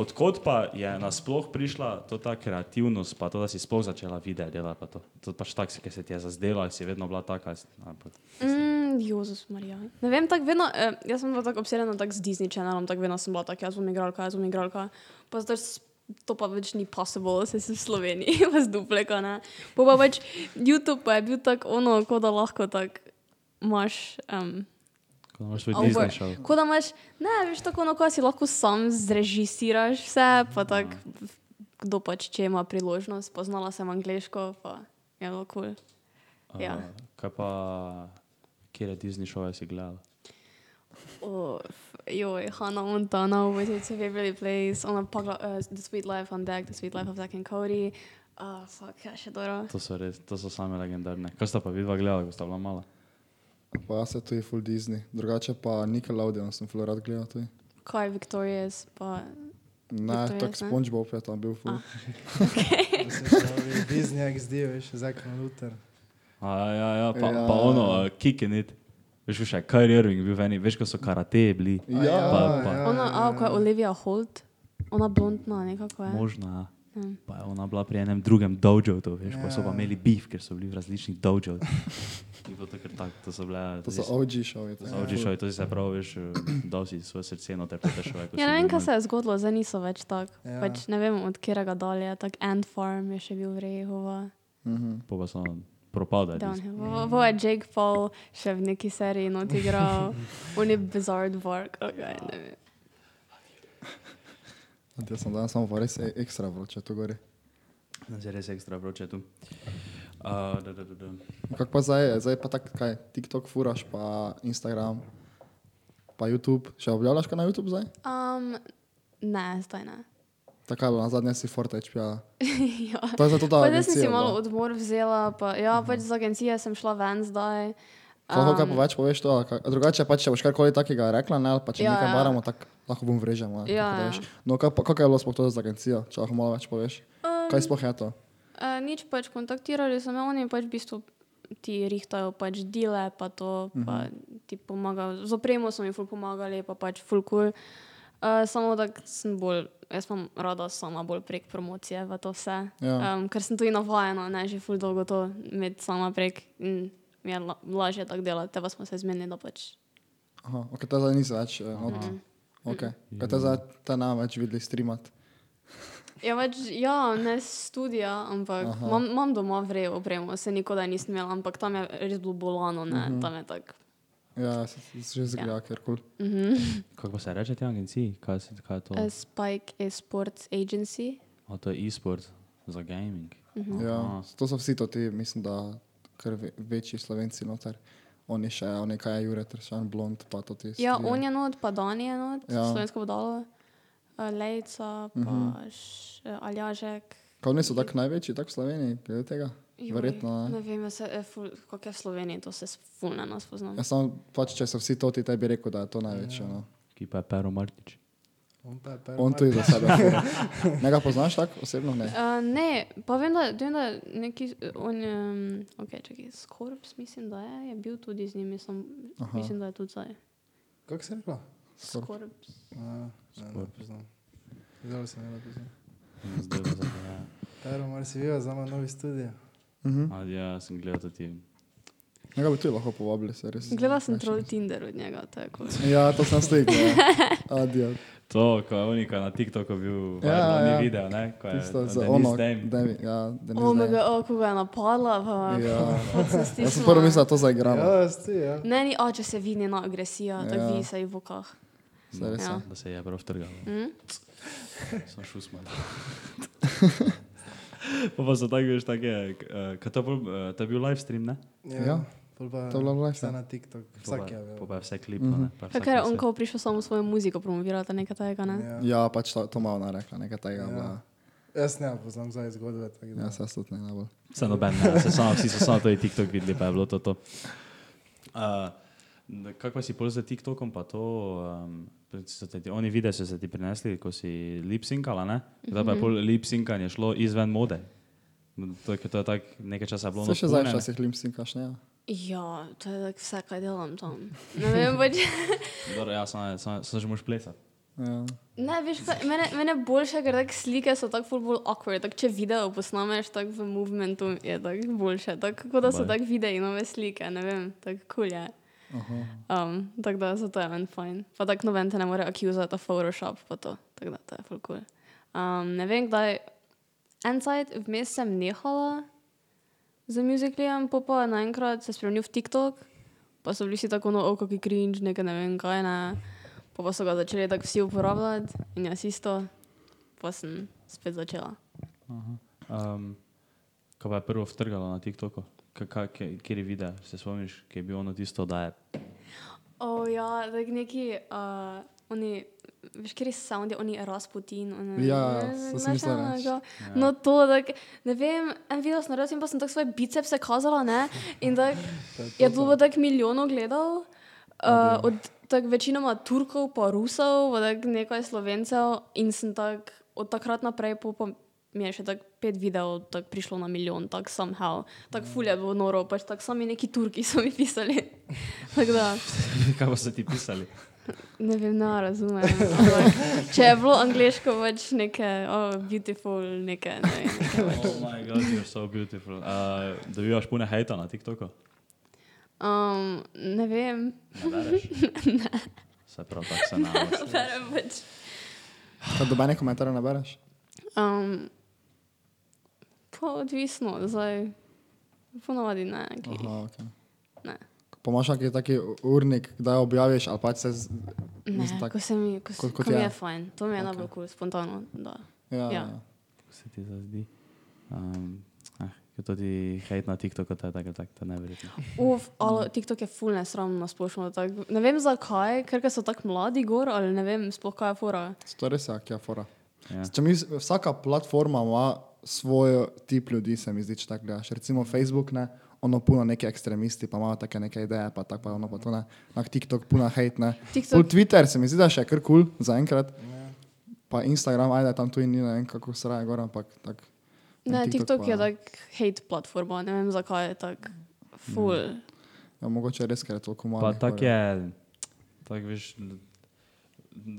[SPEAKER 2] odkot pa je nasploh prišla to ta kreativnost, pa to, da si sploh začela videe delati, pa to, to pač tak, ki se ti je zazdelo, ali si vedno bila taka. ali si- ali pa-
[SPEAKER 1] Mm, Jezus Marija. Ne vem, tako vedno, eh, jaz sem bila tako obsedena tak z Disney Channelom, tako vedno sem bila tako, jaz bom igralka, jaz bom igralka. Pa zdaj s- to pa več ni possible, saj sem v Sloveniji, vas dupleka, ne. Po pa pač YouTube pa je bil tako ono, kot da lahko tako imaš. Um,
[SPEAKER 2] Ko imaš svoj
[SPEAKER 1] Au,
[SPEAKER 2] Disney
[SPEAKER 1] bolj.
[SPEAKER 2] šov.
[SPEAKER 1] Kot da imaš, ne, veš, tako ono, ko si lahko sam zrežisiraš vse, pa tako, kdo pač če ima priložnost, poznala sem angliško, pa je bilo kul. Cool. Ja.
[SPEAKER 2] Uh, kaj pa, kje je Disney šov, si gledala?
[SPEAKER 1] Oh, joj, Hannah Montana, Always It's a Favorite Place, ona pa uh, The Sweet Life on Deck, The Sweet Life of Zack and Cody. Uh, fuck, ja, še dobro.
[SPEAKER 2] To so res, to so same legendarne. Kaj sta pa vidva gledala, ko sta bila mala?
[SPEAKER 3] pa jaz se tudi full Disney. Drugače pa Nickelodeon sem full rad gledal tudi.
[SPEAKER 1] Kaj je Victorious, pa
[SPEAKER 3] Ne,
[SPEAKER 1] Victorious,
[SPEAKER 3] tak
[SPEAKER 1] ne?
[SPEAKER 3] SpongeBob je tam bil full.
[SPEAKER 5] Da se pravi, Disney XD, veš, zakon Luther.
[SPEAKER 2] A, ja, ja, pa, ja.
[SPEAKER 3] Ja.
[SPEAKER 2] pa ono, kikinit. Veš, ko še je Kyrie Irving bil v eni, veš, ko so karateji bili.
[SPEAKER 3] Ja,
[SPEAKER 2] Pa- pa.
[SPEAKER 1] ona, a, ko je Olivia Holt, ona blondna, nekako je.
[SPEAKER 2] Možna.
[SPEAKER 1] Ja.
[SPEAKER 2] Pa je ona bila pri enem drugem dojo, to, veš, ja. pa so pa
[SPEAKER 5] Ja.
[SPEAKER 2] imeli beef, ker so bili v različnih dojo. In bilo to kar tako, to so bile.
[SPEAKER 3] To so
[SPEAKER 2] si-
[SPEAKER 3] OG šovi.
[SPEAKER 2] to so OG šovi, to si se prav, veš, dal si svoje srce noter, pa te šove.
[SPEAKER 1] Ja, ne vem, kaj se je zgodilo, zdaj niso več tako.
[SPEAKER 5] Ja.
[SPEAKER 1] Ja. Pač ne vem, od katerega dalje. Tako Ant Farm je še bil v Rejhova,
[SPEAKER 3] Mhm.
[SPEAKER 2] Pa pa so propadali.
[SPEAKER 1] Downhill. Bo- Bo je Jake Paul še v neki seriji not igral, on je bizarre dvork. Okay, ne vem.
[SPEAKER 3] Jaz sem danes samo pa res e- ekstra vroče tu gori.
[SPEAKER 2] Zdaj je res ekstra vroče tu. Uh, da, da, da, da.
[SPEAKER 3] Kako pa zdaj, je? zdaj pa tak, kaj, TikTok furaš, pa Instagram, pa YouTube. Še objavljaš kaj na YouTube zdaj?
[SPEAKER 1] Um, ne, zdaj ne.
[SPEAKER 3] Tako je bilo, na zadnje si Fortnite pijala.
[SPEAKER 1] ja.
[SPEAKER 3] To je no. zato, da
[SPEAKER 1] Pa
[SPEAKER 3] je
[SPEAKER 1] zdaj sem si
[SPEAKER 3] agencija
[SPEAKER 1] malo
[SPEAKER 3] bila.
[SPEAKER 1] odmor vzela, pa ja, pač z agencije sem šla ven zdaj. Um,
[SPEAKER 3] Lahko kaj
[SPEAKER 1] Em,
[SPEAKER 3] pa več poveš to, a ka- drugače pa če boš karkoli takega rekla, ne, ali pa če
[SPEAKER 1] Ja,
[SPEAKER 3] nekaj
[SPEAKER 1] ja.
[SPEAKER 3] baramo, tako lahko bom vrežemo.
[SPEAKER 1] Ja, ja.
[SPEAKER 3] No, kaj pa- kako je bilo sploh to z agencijo, če lahko malo več poveš?
[SPEAKER 1] um,
[SPEAKER 3] Kaj sploh je to?
[SPEAKER 1] Eh, nič pač kontaktirali, samo oni pač v bistvu ti rihtajo pač dele, pa to, pa
[SPEAKER 3] Mhm.
[SPEAKER 1] ti pomagajo. Z opremo so mi ful pomagali, pa pač ful kul. Cool. Uh, samo da sem bolj, jaz imam rada sama bolj prek promocije v to vse,
[SPEAKER 3] Ja.
[SPEAKER 1] um, ker sem tudi navajena, ne, že ful dolgo to med sama prek in mi je la- lažje tako delati, te pa smo se zmenili, da pač.
[SPEAKER 3] Aha, ok, to zdaj nisi več. eh, not.
[SPEAKER 1] Mhm.
[SPEAKER 3] Ok, kaj te zdaj te nam več videli streamati?
[SPEAKER 1] Ja, pač, ja, ne studija, ampak
[SPEAKER 3] Aha.
[SPEAKER 1] imam, imam doma vrej opremo, se nikoli nisem imela, ampak tam je res bilo bolano, ne,
[SPEAKER 3] Mhm.
[SPEAKER 1] tam je tako.
[SPEAKER 3] Ja, se se že zgleda, ker kul.
[SPEAKER 2] Kako pa se reče te agenciji? Kaj, se- kaj je to?
[SPEAKER 1] Mhm. A Spike je sports agency.
[SPEAKER 2] A to je e-sport za gaming.
[SPEAKER 1] Mhm.
[SPEAKER 3] Ja,
[SPEAKER 1] No.
[SPEAKER 2] Aha.
[SPEAKER 3] to so vsi to ti, mislim, da kar ve- večji slovenci noter. Oni še, oni kaj je Jure Tršan, blond, pa to ti.
[SPEAKER 1] Ja,
[SPEAKER 3] stvari.
[SPEAKER 1] on je not, pa Dani je not,
[SPEAKER 3] Ja.
[SPEAKER 1] ja. slovensko podalo. Lejca, pa
[SPEAKER 3] Mhm.
[SPEAKER 1] š, eh, Aljažek.
[SPEAKER 3] Kaj niso tako največji, tako v Sloveniji, glede tega?
[SPEAKER 1] Joj,
[SPEAKER 3] Verjetno, ja. ne.
[SPEAKER 1] Ne vem, jaz se, eh, ful, kako je v Sloveniji, to se s- ful na nas poznam.
[SPEAKER 3] Jaz samo, pač, če so vsi toti, tebi rekel, da je to največje.
[SPEAKER 5] Ja.
[SPEAKER 3] No.
[SPEAKER 2] Ki pa je Pero Martič.
[SPEAKER 5] On pa je
[SPEAKER 2] Ja.
[SPEAKER 5] prvi.
[SPEAKER 3] On tudi za sebe. fura. Ne ga poznaš tako osebno? Ne.
[SPEAKER 1] Uh, ne, pa vem, da, vem, da neki, eh, on, um, okay, čakaj, Skorps mislim, da je, je bil tudi z njimi, sem,
[SPEAKER 3] Aha.
[SPEAKER 1] mislim, da je tudi zdaj.
[SPEAKER 5] Kako se je rekla?
[SPEAKER 3] Skorp.
[SPEAKER 1] Skorps.
[SPEAKER 5] A, Ne, ne
[SPEAKER 2] Sport.
[SPEAKER 5] poznam. Zelo sem jo poznal.
[SPEAKER 2] Zdaj pa ja. zdaj.
[SPEAKER 5] Pero, mar si videl, zdaj ima novi studio.
[SPEAKER 3] Mhm.
[SPEAKER 2] Ja, sem gledal tudi.
[SPEAKER 3] Ne ga bi tudi lahko povabili, se res.
[SPEAKER 1] Gledala sem
[SPEAKER 3] Naši-
[SPEAKER 1] troll Tinder od njega, tako.
[SPEAKER 3] Ja, to sem slikal. Adijo.
[SPEAKER 2] To, ko je unika na TikToku bil,
[SPEAKER 3] Ja,
[SPEAKER 2] ja, ja.
[SPEAKER 3] ja.
[SPEAKER 2] ni video, ne? Ko je
[SPEAKER 3] Tisto za
[SPEAKER 2] Denise
[SPEAKER 3] ono.
[SPEAKER 2] Dame.
[SPEAKER 3] Demi, ja, Denise Dame.
[SPEAKER 1] Omega, oh, kako ga je napadla, pa
[SPEAKER 3] Ja.
[SPEAKER 1] pa se
[SPEAKER 3] Jaz sem
[SPEAKER 1] stisnila.
[SPEAKER 3] prvo mislil, da to zaigramo.
[SPEAKER 5] Ja, sti, ja.
[SPEAKER 1] Ne, ni oče se vidi na agresija, tako
[SPEAKER 3] Ja.
[SPEAKER 1] vidi se ji v okah.
[SPEAKER 3] Saj res je.
[SPEAKER 1] Ja.
[SPEAKER 2] Da se je prav no. trgal.
[SPEAKER 1] Mm?
[SPEAKER 2] Sem šel smal. pa pa so tako, veš, tako je, kaj to, pol, eh, to je bil live stream, ne?
[SPEAKER 3] Ja.
[SPEAKER 5] Pol pa
[SPEAKER 3] To je bilo live,
[SPEAKER 5] Vse
[SPEAKER 3] ja.
[SPEAKER 5] na TikTok.
[SPEAKER 2] Pol pa-
[SPEAKER 5] Vsak je bil.
[SPEAKER 2] pol pa je vse klip, no,
[SPEAKER 3] Mhm.
[SPEAKER 2] ne? Pa vsak
[SPEAKER 1] Kaj je on,
[SPEAKER 2] koncert.
[SPEAKER 1] ko prišel samo svojo muziko promovirati, nekaj takega, ne?
[SPEAKER 3] Ja, pač to, to malo narekla, nekaj tega.
[SPEAKER 5] Ja.
[SPEAKER 3] Ja,
[SPEAKER 5] Jaz ne poznam zdaj zgodbe. tako da-
[SPEAKER 3] ja se stot ne najbolj.
[SPEAKER 2] Se noben, ne, se samo, vsi so samo to in TikTok videli, pa je bilo to to. Uh, Kaj pa si pol za TikTokom, pa to, um, so te, ti- oni videi so se ti prinesli, ko si lipsinkala, ne? Kdaj
[SPEAKER 3] Mhm.
[SPEAKER 2] pa je pol lipsinkanje šlo izven mode? To, je- to je tako, nekaj časa je bilo
[SPEAKER 3] Se še
[SPEAKER 2] notkulne,
[SPEAKER 3] zdaj
[SPEAKER 2] ne?
[SPEAKER 3] včasih limsim kašnja.
[SPEAKER 1] Ja, to je tako vse, kaj delam tam. Ne vem, pač.
[SPEAKER 2] Dobro, ja, samo samo- samo že moraš plesati.
[SPEAKER 3] Ja.
[SPEAKER 1] Ne, veš, kaj, mene, mene boljše, ker tak slike so tako ful bolj awkward, tako če video posnameš tako v movementu, je tako boljše, tako kot da so
[SPEAKER 2] Baj.
[SPEAKER 1] tako videi nove slike, ne vem, tako kul cool je.
[SPEAKER 3] Aha.
[SPEAKER 1] Um, tako da zato je meni fajn. Pa tako noben te ne more akuzati Photoshop pa to, tako da to je ful kul. Cool. Um, ne vem, kdaj, en sajt vmes sem nehala z muziklijem, pa pa naenkrat se spremenil v TikTok, pa so bili vsi tako no, oko, ki cringe, nekaj ne vem kaj, ne. Pa, pa so ga začeli tako vsi uporabljati in jaz isto, pa sem spet začela.
[SPEAKER 2] Um, kaj pa je prvo vtrgalo na TikToku? Ka- ka- ke- Kateri video se spomniš, ki je bilo ono tisto, da je
[SPEAKER 1] O oh, ja, tako neki, uh, oni, veš, kjer so soundi, oni Rasputin. Oni,
[SPEAKER 3] Ja,
[SPEAKER 1] ne,
[SPEAKER 3] saj sem
[SPEAKER 1] znaš
[SPEAKER 3] mislila
[SPEAKER 1] enega?
[SPEAKER 3] reči.
[SPEAKER 2] Ja.
[SPEAKER 1] No, to, tak, ne vem, en video sem naredil in pa sem tako svoje bicepse kazala, ne, in tak,
[SPEAKER 5] To je to,
[SPEAKER 1] je
[SPEAKER 5] to.
[SPEAKER 1] bilo tako milijonov gledal, uh, od tak večinoma Turkov, pa Rusov, pa tak nekaj Slovencev in sem tak, od takrat naprej po, po mi je še tako pet videov tak prišlo na milijon, tako somehow, tako fulje bilo noro, pač tako sami neki Turki so mi pisali. tako da.
[SPEAKER 2] kaj pa so ti pisali?
[SPEAKER 1] Ne vem, ne razumem. ampak Če je bilo angliško, pač neke, oh, beautiful, neke. Ne, vem.
[SPEAKER 2] oh my god, you're so beautiful. Uh, dobivaš pune hejta na TikToku?
[SPEAKER 1] um, ne vem,
[SPEAKER 2] Ne bereš? Se prav tako se nalazi.
[SPEAKER 1] berem pač.
[SPEAKER 3] Kaj dobene komentarje nabereš?
[SPEAKER 1] Um, pa odvisno, zdaj. Ponovadi ne. ki-
[SPEAKER 3] Aha, ok.
[SPEAKER 1] Ne.
[SPEAKER 3] Pomaš neki taki urnik, kdaj objaviš, ali pač se... Z...
[SPEAKER 1] Ne,
[SPEAKER 3] Mislim tako.
[SPEAKER 1] ko se mi, ko,
[SPEAKER 3] Kot-
[SPEAKER 1] kot,
[SPEAKER 3] kot
[SPEAKER 1] kot ko mi
[SPEAKER 3] je.
[SPEAKER 1] je fajn, to mi je okay.
[SPEAKER 3] Ok.
[SPEAKER 1] najbolj kul, cool, spontano. Da.
[SPEAKER 3] Ja,
[SPEAKER 1] Ja.
[SPEAKER 3] ja.
[SPEAKER 2] Se ti zazdi? Um, ah, ker tudi hejt na TikToku, to je tako, tako, to je neverjetno.
[SPEAKER 1] Uf,
[SPEAKER 3] Mhm.
[SPEAKER 1] ali TikTok je ful nesramno na splošno. tako- Ne vem zakaj, ker ker so tako mladi gor ali ne vem sploh kaj je fora.
[SPEAKER 3] To je res akija fora.
[SPEAKER 2] Ja.
[SPEAKER 3] Če mi, vsaka platforma ima svoj tip ljudi, se mi zdi, če tako gledaš. Recimo Facebook, ne, ono puno neki ekstremisti, pa imajo take neke ideje, pa tako pa ono pa to ne. Na TikTok puno hate, ne. Pol
[SPEAKER 1] TikTok,
[SPEAKER 3] Twitter se mi zdi, da je še kar kul cool, zaenkrat.
[SPEAKER 5] Ja.
[SPEAKER 3] Pa Instagram, ajde, tam tudi ni, ne vem kako sraje gor, ampak tako.
[SPEAKER 1] ne,
[SPEAKER 3] TikTok
[SPEAKER 1] TikTok
[SPEAKER 3] pa-
[SPEAKER 1] je tak hate platforma, ne vem zakaj je tak
[SPEAKER 3] Mhm.
[SPEAKER 1] ful.
[SPEAKER 3] Ja, mogoče res, ker je toliko malo.
[SPEAKER 2] Pa tako je, tako veš,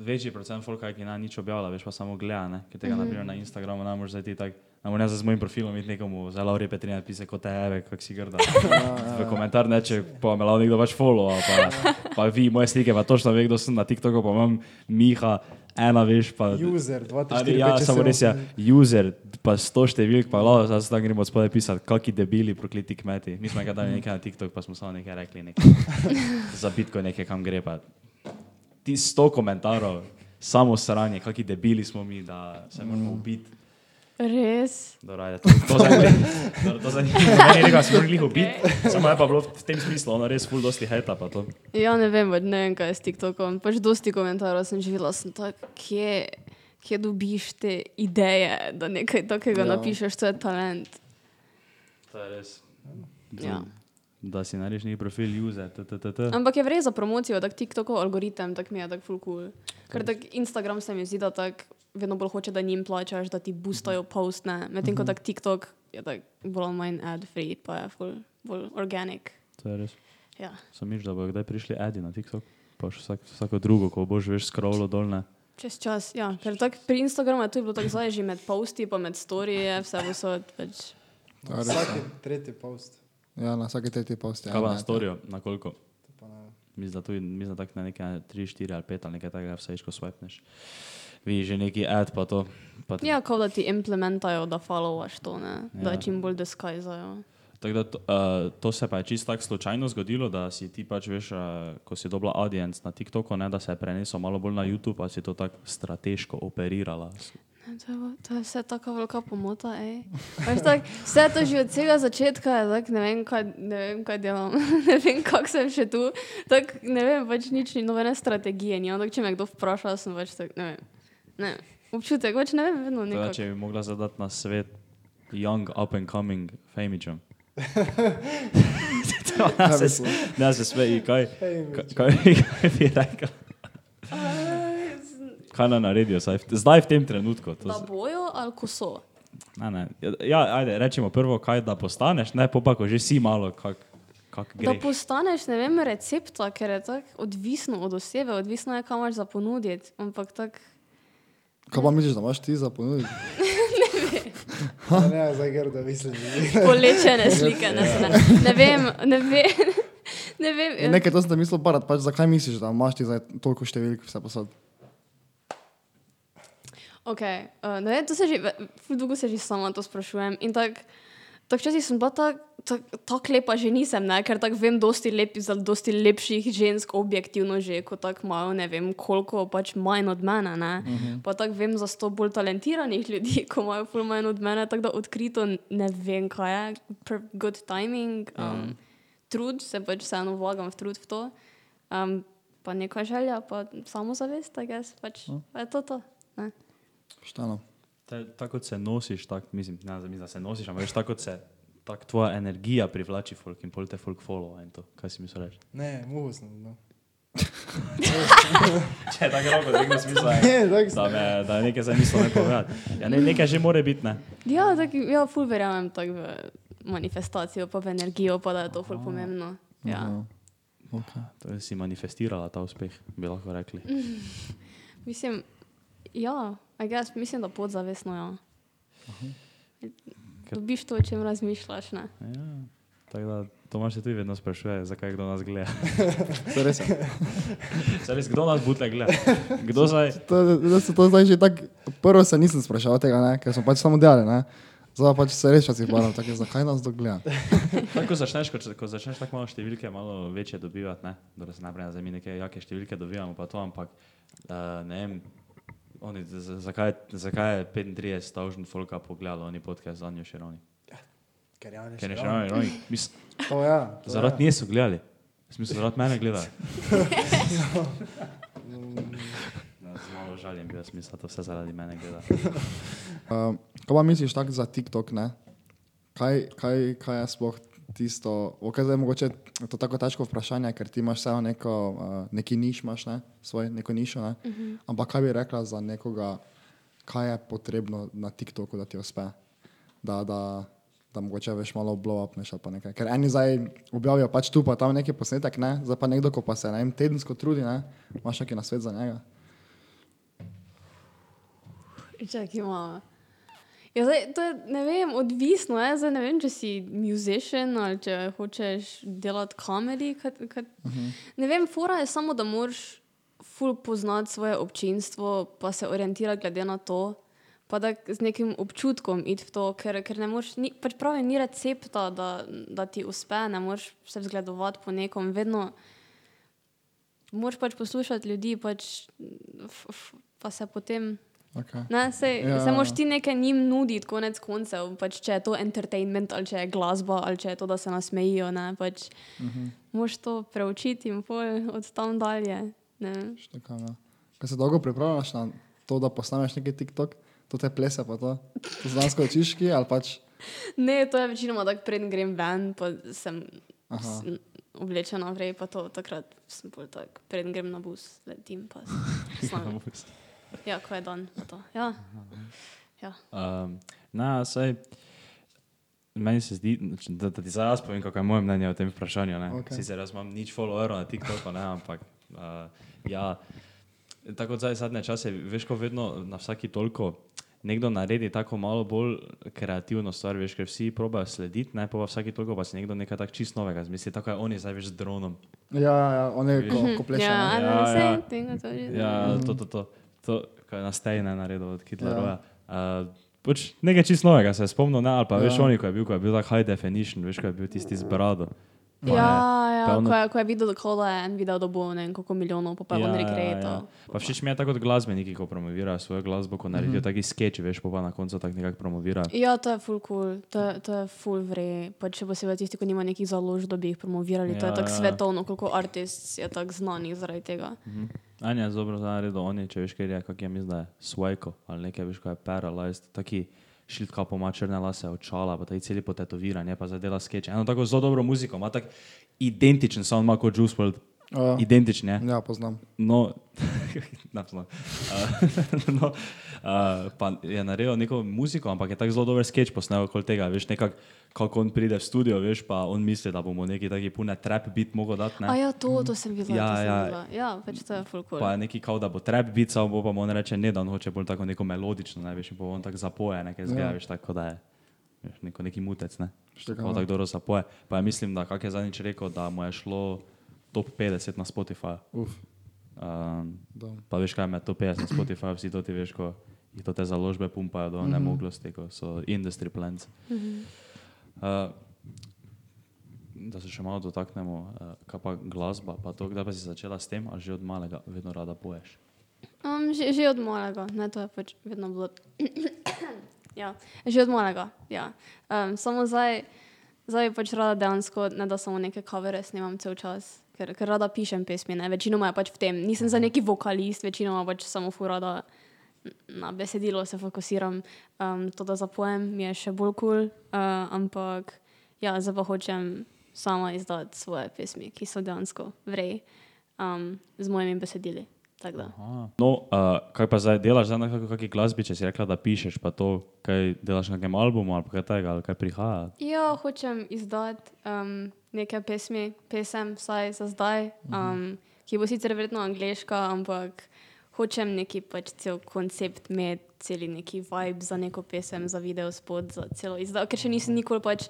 [SPEAKER 2] večji procent folka, ki na nič objavlja, veš pa samo gleda, ne? ki tega mm
[SPEAKER 1] Mhm.
[SPEAKER 2] -hmm. naprimer na Instagramu ne moreš zdaj ti tako. Ne morem jaz z mojim profilom iti nekomu, za Lauri Petrina pise kot tebe, kak si grda. V komentar neče, pa me lao nekdo pač follow, ali pa, pa vi moje slike, pa točno ve, kdo sem na TikToku, pa imam Miha, ena veš, pa...
[SPEAKER 5] Ja. User, 2, 3,
[SPEAKER 2] Ali, ja, samo res je, user, pa sto številk, pa lao, zdaj se tam gremo spodaj pisati, kaki debili, prokliti kmeti. Mi smo enkrat dali nekaj na TikTok, pa smo samo nekaj rekli, nekaj. za bitko nekaj, kam gre pa. Ti sto komentarjev, samo sranje, kaki debili smo mi, da se moramo ubiti.
[SPEAKER 1] Res.
[SPEAKER 2] Dobro, ajde, to, to zanimivo. To zanimivo. Meni nekaj smo morali ubiti, samo je pa bilo v tem smislu, ono res ful dosti hejta pa to.
[SPEAKER 1] Ja, ne vem, pač ne vem, kaj je s TikTokom. Pač dosti komentarjev sem že videla, sem tak, kje, kje dobiš te ideje, da nekaj takega
[SPEAKER 3] Ja.
[SPEAKER 1] ja. napišeš, to je talent.
[SPEAKER 2] To je res.
[SPEAKER 1] Ja.
[SPEAKER 2] Da si narediš neki profil, user, tttt.
[SPEAKER 1] Ampak je res za promocijo, da TikTokov algoritem tak mi je tako ful cool. Ker tak Instagram se mi zdi, da tak vedno bolj hoče, da njim plačaš, da ti boostajo postne, medtem ko tak TikTok je tak bolj ali manj ad free, pa je ful bolj organic.
[SPEAKER 2] To je res.
[SPEAKER 1] Ja.
[SPEAKER 2] Sem miš, da bo kdaj prišli edi na TikTok, pa še vsak, vsako drugo, ko boš veš scrollo dolne.
[SPEAKER 1] Čez čas, ja. Ker tak pri Instagramu je to bilo tako zdaj že med posti, pa med storije, vse vsod. Pač.
[SPEAKER 3] To je res,
[SPEAKER 5] No, Vsak tretji post.
[SPEAKER 3] Ja, na vsaki tretji posti.
[SPEAKER 2] Kaj pa
[SPEAKER 3] ena
[SPEAKER 2] na
[SPEAKER 3] je ta.
[SPEAKER 2] storijo, na koliko?
[SPEAKER 5] To pa ne vem.
[SPEAKER 2] Mislim, da tu mislim, da tako na nekaj 3, 4 ali 5 ali nekaj takega, vse ko swipneš. Vidiš že neki ad, pa to. Pa ti-
[SPEAKER 1] Ja, kot da ti implementajo, da followaš to, ne? da
[SPEAKER 2] Ja.
[SPEAKER 1] ja. čim bolj deskajzajo.
[SPEAKER 2] Tako da to, uh, to se pa je čisto tako slučajno zgodilo, da si ti pač veš, uh, ko si dobila audience na TikToku, ne, da se je prenesel malo bolj na YouTube, pa si to tako strateško operirala. S-
[SPEAKER 1] Ne, To je, pa- to je vse tako velika pomota. ej. Veš, tak, vse to že od vsega začetka je tako, ne vem, kaj, ne vem, kaj delam, ne vem, kako sem še tu. Tak, ne vem, pač nič ni nobene strategije. Ni. Ampak, če me kdo vpraša, sem pač tak, ne vem. Ne, vem. občutek, pač ne vem, vedno
[SPEAKER 2] Tako da,
[SPEAKER 1] nekaj.
[SPEAKER 2] Če bi mogla zadati na svet young up and coming famičem.
[SPEAKER 3] Kaj bi bilo?
[SPEAKER 2] Ne, se sve i kaj, kaj, kaj, kaj bi rekel. Kaj naj naredijo saj v- zdaj v tem trenutku? To
[SPEAKER 1] Da
[SPEAKER 2] z-
[SPEAKER 1] bojo ali ko so.
[SPEAKER 2] Ne, ne. Ja, ajde, rečemo prvo, kaj da postaneš, ne pa pa, ko že si malo, kak, kak
[SPEAKER 1] Da
[SPEAKER 2] gre.
[SPEAKER 1] postaneš, ne vem, recepta, ker je tako odvisno od osebe, odvisno je, kam imaš za ponuditi. Ampak tako,
[SPEAKER 3] Kaj pa misliš, da imaš ti za ponuditi?
[SPEAKER 5] Ja, Ne, zdaj ker da mislim.
[SPEAKER 1] polečene slike, ne, ne, ne vem, ne vem. Ne vem
[SPEAKER 3] Ja. Nekaj to sem te mislil, barat, pač zakaj misliš, da imaš ti zdaj toliko številk vse posod?
[SPEAKER 1] Okay, uh, ne vem, to se že, ve- ful dolgo se že sama to sprašujem. In tako, tak včasih sem bila tako tak, tak lepa, že nisem, ne? ker tako vem, dosti, lep, za dosti lepših žensk objektivno že, ko tako imajo, ne vem, koliko pač manj od mene. ne. Pa tako vem za sto bolj talentiranih ljudi, ko imajo ful manj od mene, tako da odkrito n- ne vem, kaj je. Pr- ja, Good timing, um, trud, se pač vseeno vlagam v trud v to. Um, pa neka želja, pa samozavest, tako jaz pač, pa je to to. Ne?
[SPEAKER 3] Štano.
[SPEAKER 2] Te- Tako kot se nosiš, tako mislim, ne, mislim, da se nosiš, ampak veš, tako kot se tak tvoja energija privlači folk in pol te folk followa in to, kaj si misliš reči.
[SPEAKER 5] Ne, muho sem. No.
[SPEAKER 2] Če je tako roko, da nekdo smisla je.
[SPEAKER 5] Ne, tako sem.
[SPEAKER 2] Da, me, da nekaj zdaj nismo ne povedali. Ja, ne, nekaj že more biti, ne.
[SPEAKER 1] Ja, tak, ja ful verjamem tak v manifestacijo, pa v energijo, pa da je to ful pomembno.
[SPEAKER 3] Mhm.
[SPEAKER 1] Ja.
[SPEAKER 3] Okay.
[SPEAKER 2] To si manifestirala ta uspeh, bi lahko rekli.
[SPEAKER 1] Mislim, ja, a jaz mislim, da podzavestno ja.
[SPEAKER 2] Ker-
[SPEAKER 1] Dobiš to, o čem razmišljaš. Ne?
[SPEAKER 2] Ja, tako da Tomaš se tudi vedno sprašuje, zakaj kdo nas gleda.
[SPEAKER 3] To je res.
[SPEAKER 2] Saj res, kdo nas bute gleda? Kdo zdaj?
[SPEAKER 3] To, da se to zdaj že tako, prvo se nisem sprašal tega, ne? ker smo pač samo delali, ne? zdaj pa pač se res včasih baram, tako je, zakaj nas dogleda.
[SPEAKER 2] Tako začneš, ko, ko začneš tako malo številke, malo večje dobivati, ne, da se najprej zdaj mi neke jake številke dobivamo, pa to, ampak uh, ne vem, oni, z- z- zakaj, zakaj je 35 stavžen folka pogledalo, oni podcast za njo še ravni.
[SPEAKER 5] Ker ja, ne
[SPEAKER 2] Ker
[SPEAKER 5] še.
[SPEAKER 2] je še ravni, ravni. Mislim,
[SPEAKER 5] To ja. to ja.
[SPEAKER 2] Zaradi nje so gledali. Smisel, zaradi mene gledajo.
[SPEAKER 5] Mm.
[SPEAKER 2] No, z malo žaljem bi jaz mislil, da vse zaradi mene gleda.
[SPEAKER 3] Um, kaj pa misliš tako za TikTok, ne? Kaj, kaj, kaj je sploh tisto, okay, zdaj mogoče je to tako težko vprašanje, ker ti imaš vseeno neko, uh, neki niš, imaš ne? svoj, neko nišo, ne? Uh -huh. ampak kaj bi rekla za nekoga, kaj je potrebno na TikToku, da ti uspe, da, da, da mogoče veš malo blow upneš ali pa nekaj. Ker eni zdaj objavijo pač tu pa tam neki posnetek, ne? zdaj pa nekdo, ko pa se na enem tedensko trudi, ne? imaš neki nasvet za njega.
[SPEAKER 1] Čak, ja, zdaj, to je ne vem, odvisno. Je. Zdaj, ne vem, če si muzician ali če hočeš delati komedij. Kad, kad, uh -huh. Ne vem, fora je samo, da moraš ful poznati svoje občinstvo, pa se orientirati glede na to. Pa da z nekim občutkom id v to, ker, ker ne moreš, ni- pač pravi, ni recepta, da, da ti uspe, ne moreš se zgledovati po nekom. Vedno moraš pač poslušati ljudi, pač, f, f, pa se potem
[SPEAKER 3] Okay.
[SPEAKER 1] Ne, sej,
[SPEAKER 3] Ja.
[SPEAKER 1] ja. Se moš ti nekaj njim nuditi, konec koncev, pač, če je to entertainment ali če je glasba ali če je to, da se nasmejijo. Ne, pač, uh
[SPEAKER 3] Mhm.
[SPEAKER 1] -huh. Moš to preučiti in pol od tam dalje. Ne.
[SPEAKER 3] Štekam, ja. Kaj se no. dolgo pripravljaš na to, da posnameš neki TikTok, to te plese pa to. To znansko očiški ali pač.
[SPEAKER 1] Ne, to je večinoma tako, preden grem ven, pa sem
[SPEAKER 3] Aha.
[SPEAKER 1] s- oblečena naprej, pa to takrat sem bolj tak, preden grem na bus, letim pa slavim. Ja, ko je dan, pa to. Ja,
[SPEAKER 2] Um, na, saj, meni se zdi, da, da ti zdaj jaz povem, kako je moje mnenje o tem vprašanju.
[SPEAKER 3] Okej.
[SPEAKER 2] Okay. Sicer jaz imam nič followerov na TikToku, ne, ampak uh, ja, tako kot zdaj zadnje čase, veš, ko vedno na vsaki toliko nekdo naredi tako malo bolj kreativno stvar, veš, ker vsi probajo slediti, ne pa vsaki toliko pa si nekdo nekaj tak čist novega zmisli, tako je oni zdaj veš z dronom.
[SPEAKER 3] Ja, ja, ja, on je ko, ko pleše.
[SPEAKER 1] ja, I
[SPEAKER 2] ne?
[SPEAKER 3] ne.
[SPEAKER 2] Ja,
[SPEAKER 1] know,
[SPEAKER 2] ja.
[SPEAKER 1] same thing, to je že.
[SPEAKER 2] Ja,
[SPEAKER 3] Mhm.
[SPEAKER 2] to, to, to, to kar je na stejne naredil od
[SPEAKER 3] Ja.
[SPEAKER 2] Hitlerja. Uh, pač nekaj čist novega se je spomnil, ne, ali pa ja. veš,
[SPEAKER 3] Ja.
[SPEAKER 2] oni, ko je bil, ko je bil tak high definition, veš, ko je bil tisti z brado. Pa
[SPEAKER 1] Ja,
[SPEAKER 2] je-
[SPEAKER 1] ja,
[SPEAKER 2] pa ono-
[SPEAKER 1] ko je, ko je videl, da kola je en video, da bo ne vem koliko milijonov, pa pa
[SPEAKER 2] Ja,
[SPEAKER 1] je on rekreatal.
[SPEAKER 2] Pa všeč mi je tako kot glasbeniki, ko promovirajo svojo glasbo, ko naredijo mm -hmm. taki skeč, veš, pa, pa na koncu tako nekako promovirajo.
[SPEAKER 1] Ja, to je full cool, to, je- to je full vre. Pa če posebej tisti, ki nima nekih založb, da bi jih promovirali, ja, to je
[SPEAKER 2] Ja,
[SPEAKER 1] tako
[SPEAKER 2] ja.
[SPEAKER 1] svetovno, koliko artist je tako znanih zaradi tega.
[SPEAKER 2] Mhm. Anja je zelo naredil, on je, če veš, kaj je, kak je mi zdaj, svojko ali nekaj, veš, kaj je paralyzed, taki šiltka poma črne lase, očala, pa ta celi potetoviran, je pa zadela skeč. Eno tako zelo dobro muziko, ima tak identičen sound, ima kot Juice WRLD,
[SPEAKER 3] Ja.
[SPEAKER 2] identičen je.
[SPEAKER 3] Ja, poznam.
[SPEAKER 2] No, napisano. Uh, no, uh, pa je naredil neko muziko, ampak je tako zelo dober sketch posnel okoli tega. Veš, nekak, kako on pride v studio, veš, pa on misli, da bomo neki taki pune trap bit mogel dati. ne.
[SPEAKER 1] A ja, to, to sem videla.
[SPEAKER 2] Ja,
[SPEAKER 1] to sem
[SPEAKER 2] ja.
[SPEAKER 1] videla. ja pač to je full cool.
[SPEAKER 2] Pa je neki kao, da bo trap bit, samo bo pa mu on reče, ne, da on hoče bolj tako neko melodično, ne veš, in bo on tako zapoje, nekaj zgaja, veš, tako da je. Veš, neko, neki mutec, ne.
[SPEAKER 3] Štega,
[SPEAKER 2] Pa on
[SPEAKER 3] ja.
[SPEAKER 2] tako dobro zapoje. Pa je mislim, da kak je zadnjič rekel, da mu je šlo top 50 na Spotify.
[SPEAKER 3] Uf,
[SPEAKER 2] Um,
[SPEAKER 3] da.
[SPEAKER 2] pa veš, kaj me to 50 na Spotify, vsi to ti veš, ko jih to te založbe pumpajo do nemoglosti, ko so industry plans. Uh, da se še malo dotaknemo, uh, kaj pa glasba, pa to, kdaj pa si začela s tem, a že od malega vedno rada poješ.
[SPEAKER 1] Um, že, že od malega, ne, to je pač vedno bilo. ja, že od malega. Ja. Um, samo zdaj, zdaj pač rada dejansko, ne da samo neke kavere snemam cel čas, ker, ker rada pišem pesmi. Ne. Večinoma je pač v tem, nisem za neki vokalist, večinoma pač samo furada na besedilo se fokusiram. Um, to, da zapojem, mi je še bolj kul, cool, uh, ampak ja, zdaj pa hočem sama izdati svoje pesmi, ki so dejansko vrej um, z mojimi besedili. Tako da.
[SPEAKER 2] No, uh, kaj pa zdaj delaš, zdaj na kakšni kaki glasbi, če si rekla, da pišeš, pa to, kaj delaš na nekem albumu ali pa kaj tega, ali kaj prihaja.
[SPEAKER 1] Ja, hočem izdati um, nekaj pesmi, pesem, vsaj za zdaj, um, ki bo sicer verjetno angliška, ampak hočem neki pač cel koncept imeti, celi neki vibe za neko pesem, za video spod, za celo izdajo, ker še nisem nikoli pač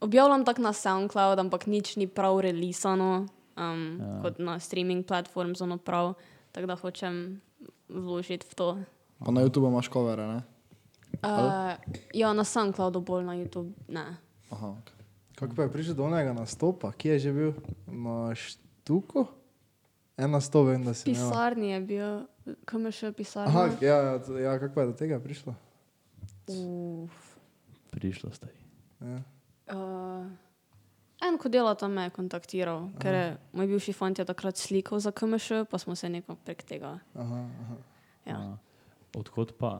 [SPEAKER 1] objavljam tako na SoundCloud, ampak nič ni prav releasano, um, ja. kot na streaming platform, zelo prav, tako da hočem vložiti v to.
[SPEAKER 3] Pa na YouTubu imaš covere, ne?
[SPEAKER 1] Uh, ja, na SoundCloudu bolj, na YouTube ne.
[SPEAKER 3] Aha, okay.
[SPEAKER 5] Kako pa je prišel do onega nastopa, ki je že bil na štuku? En nastop, vem, da si imela.
[SPEAKER 1] pisarni je bil, kam je šel pisarni.
[SPEAKER 5] Aha, ja, ja, t- ja, kako pa je do tega prišlo?
[SPEAKER 2] Prišlo ste.
[SPEAKER 5] Ja.
[SPEAKER 1] Uh, en, ko dela tam, me je kontaktiral, ker je moj bivši fant je takrat slikal za KMŠ, pa smo se nekako prek tega.
[SPEAKER 5] Aha, aha.
[SPEAKER 1] Ja.
[SPEAKER 2] Odkud No. pa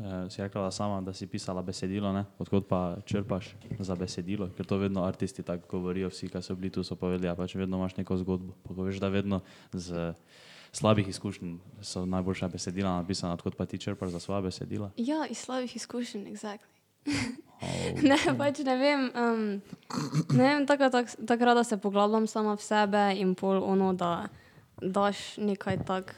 [SPEAKER 2] uh, si rekla da sama, da si pisala besedilo, ne? odkud pa črpaš za besedilo, ker to vedno aristi tako govorijo, vsi, ki so bili tu, so povedali, a pač vedno imaš neko zgodbo. Pa ko veš, da vedno z slabih izkušenj so najboljša besedila napisana, odkud pa ti črpaš za svoje besedila.
[SPEAKER 1] ja, iz slabih izkušenj, exactly.
[SPEAKER 2] Oh.
[SPEAKER 1] ne, pač ne vem. Um, ne vem, tako tak, tak rada se poglabljam sama v sebe in pol ono, da daš nekaj tak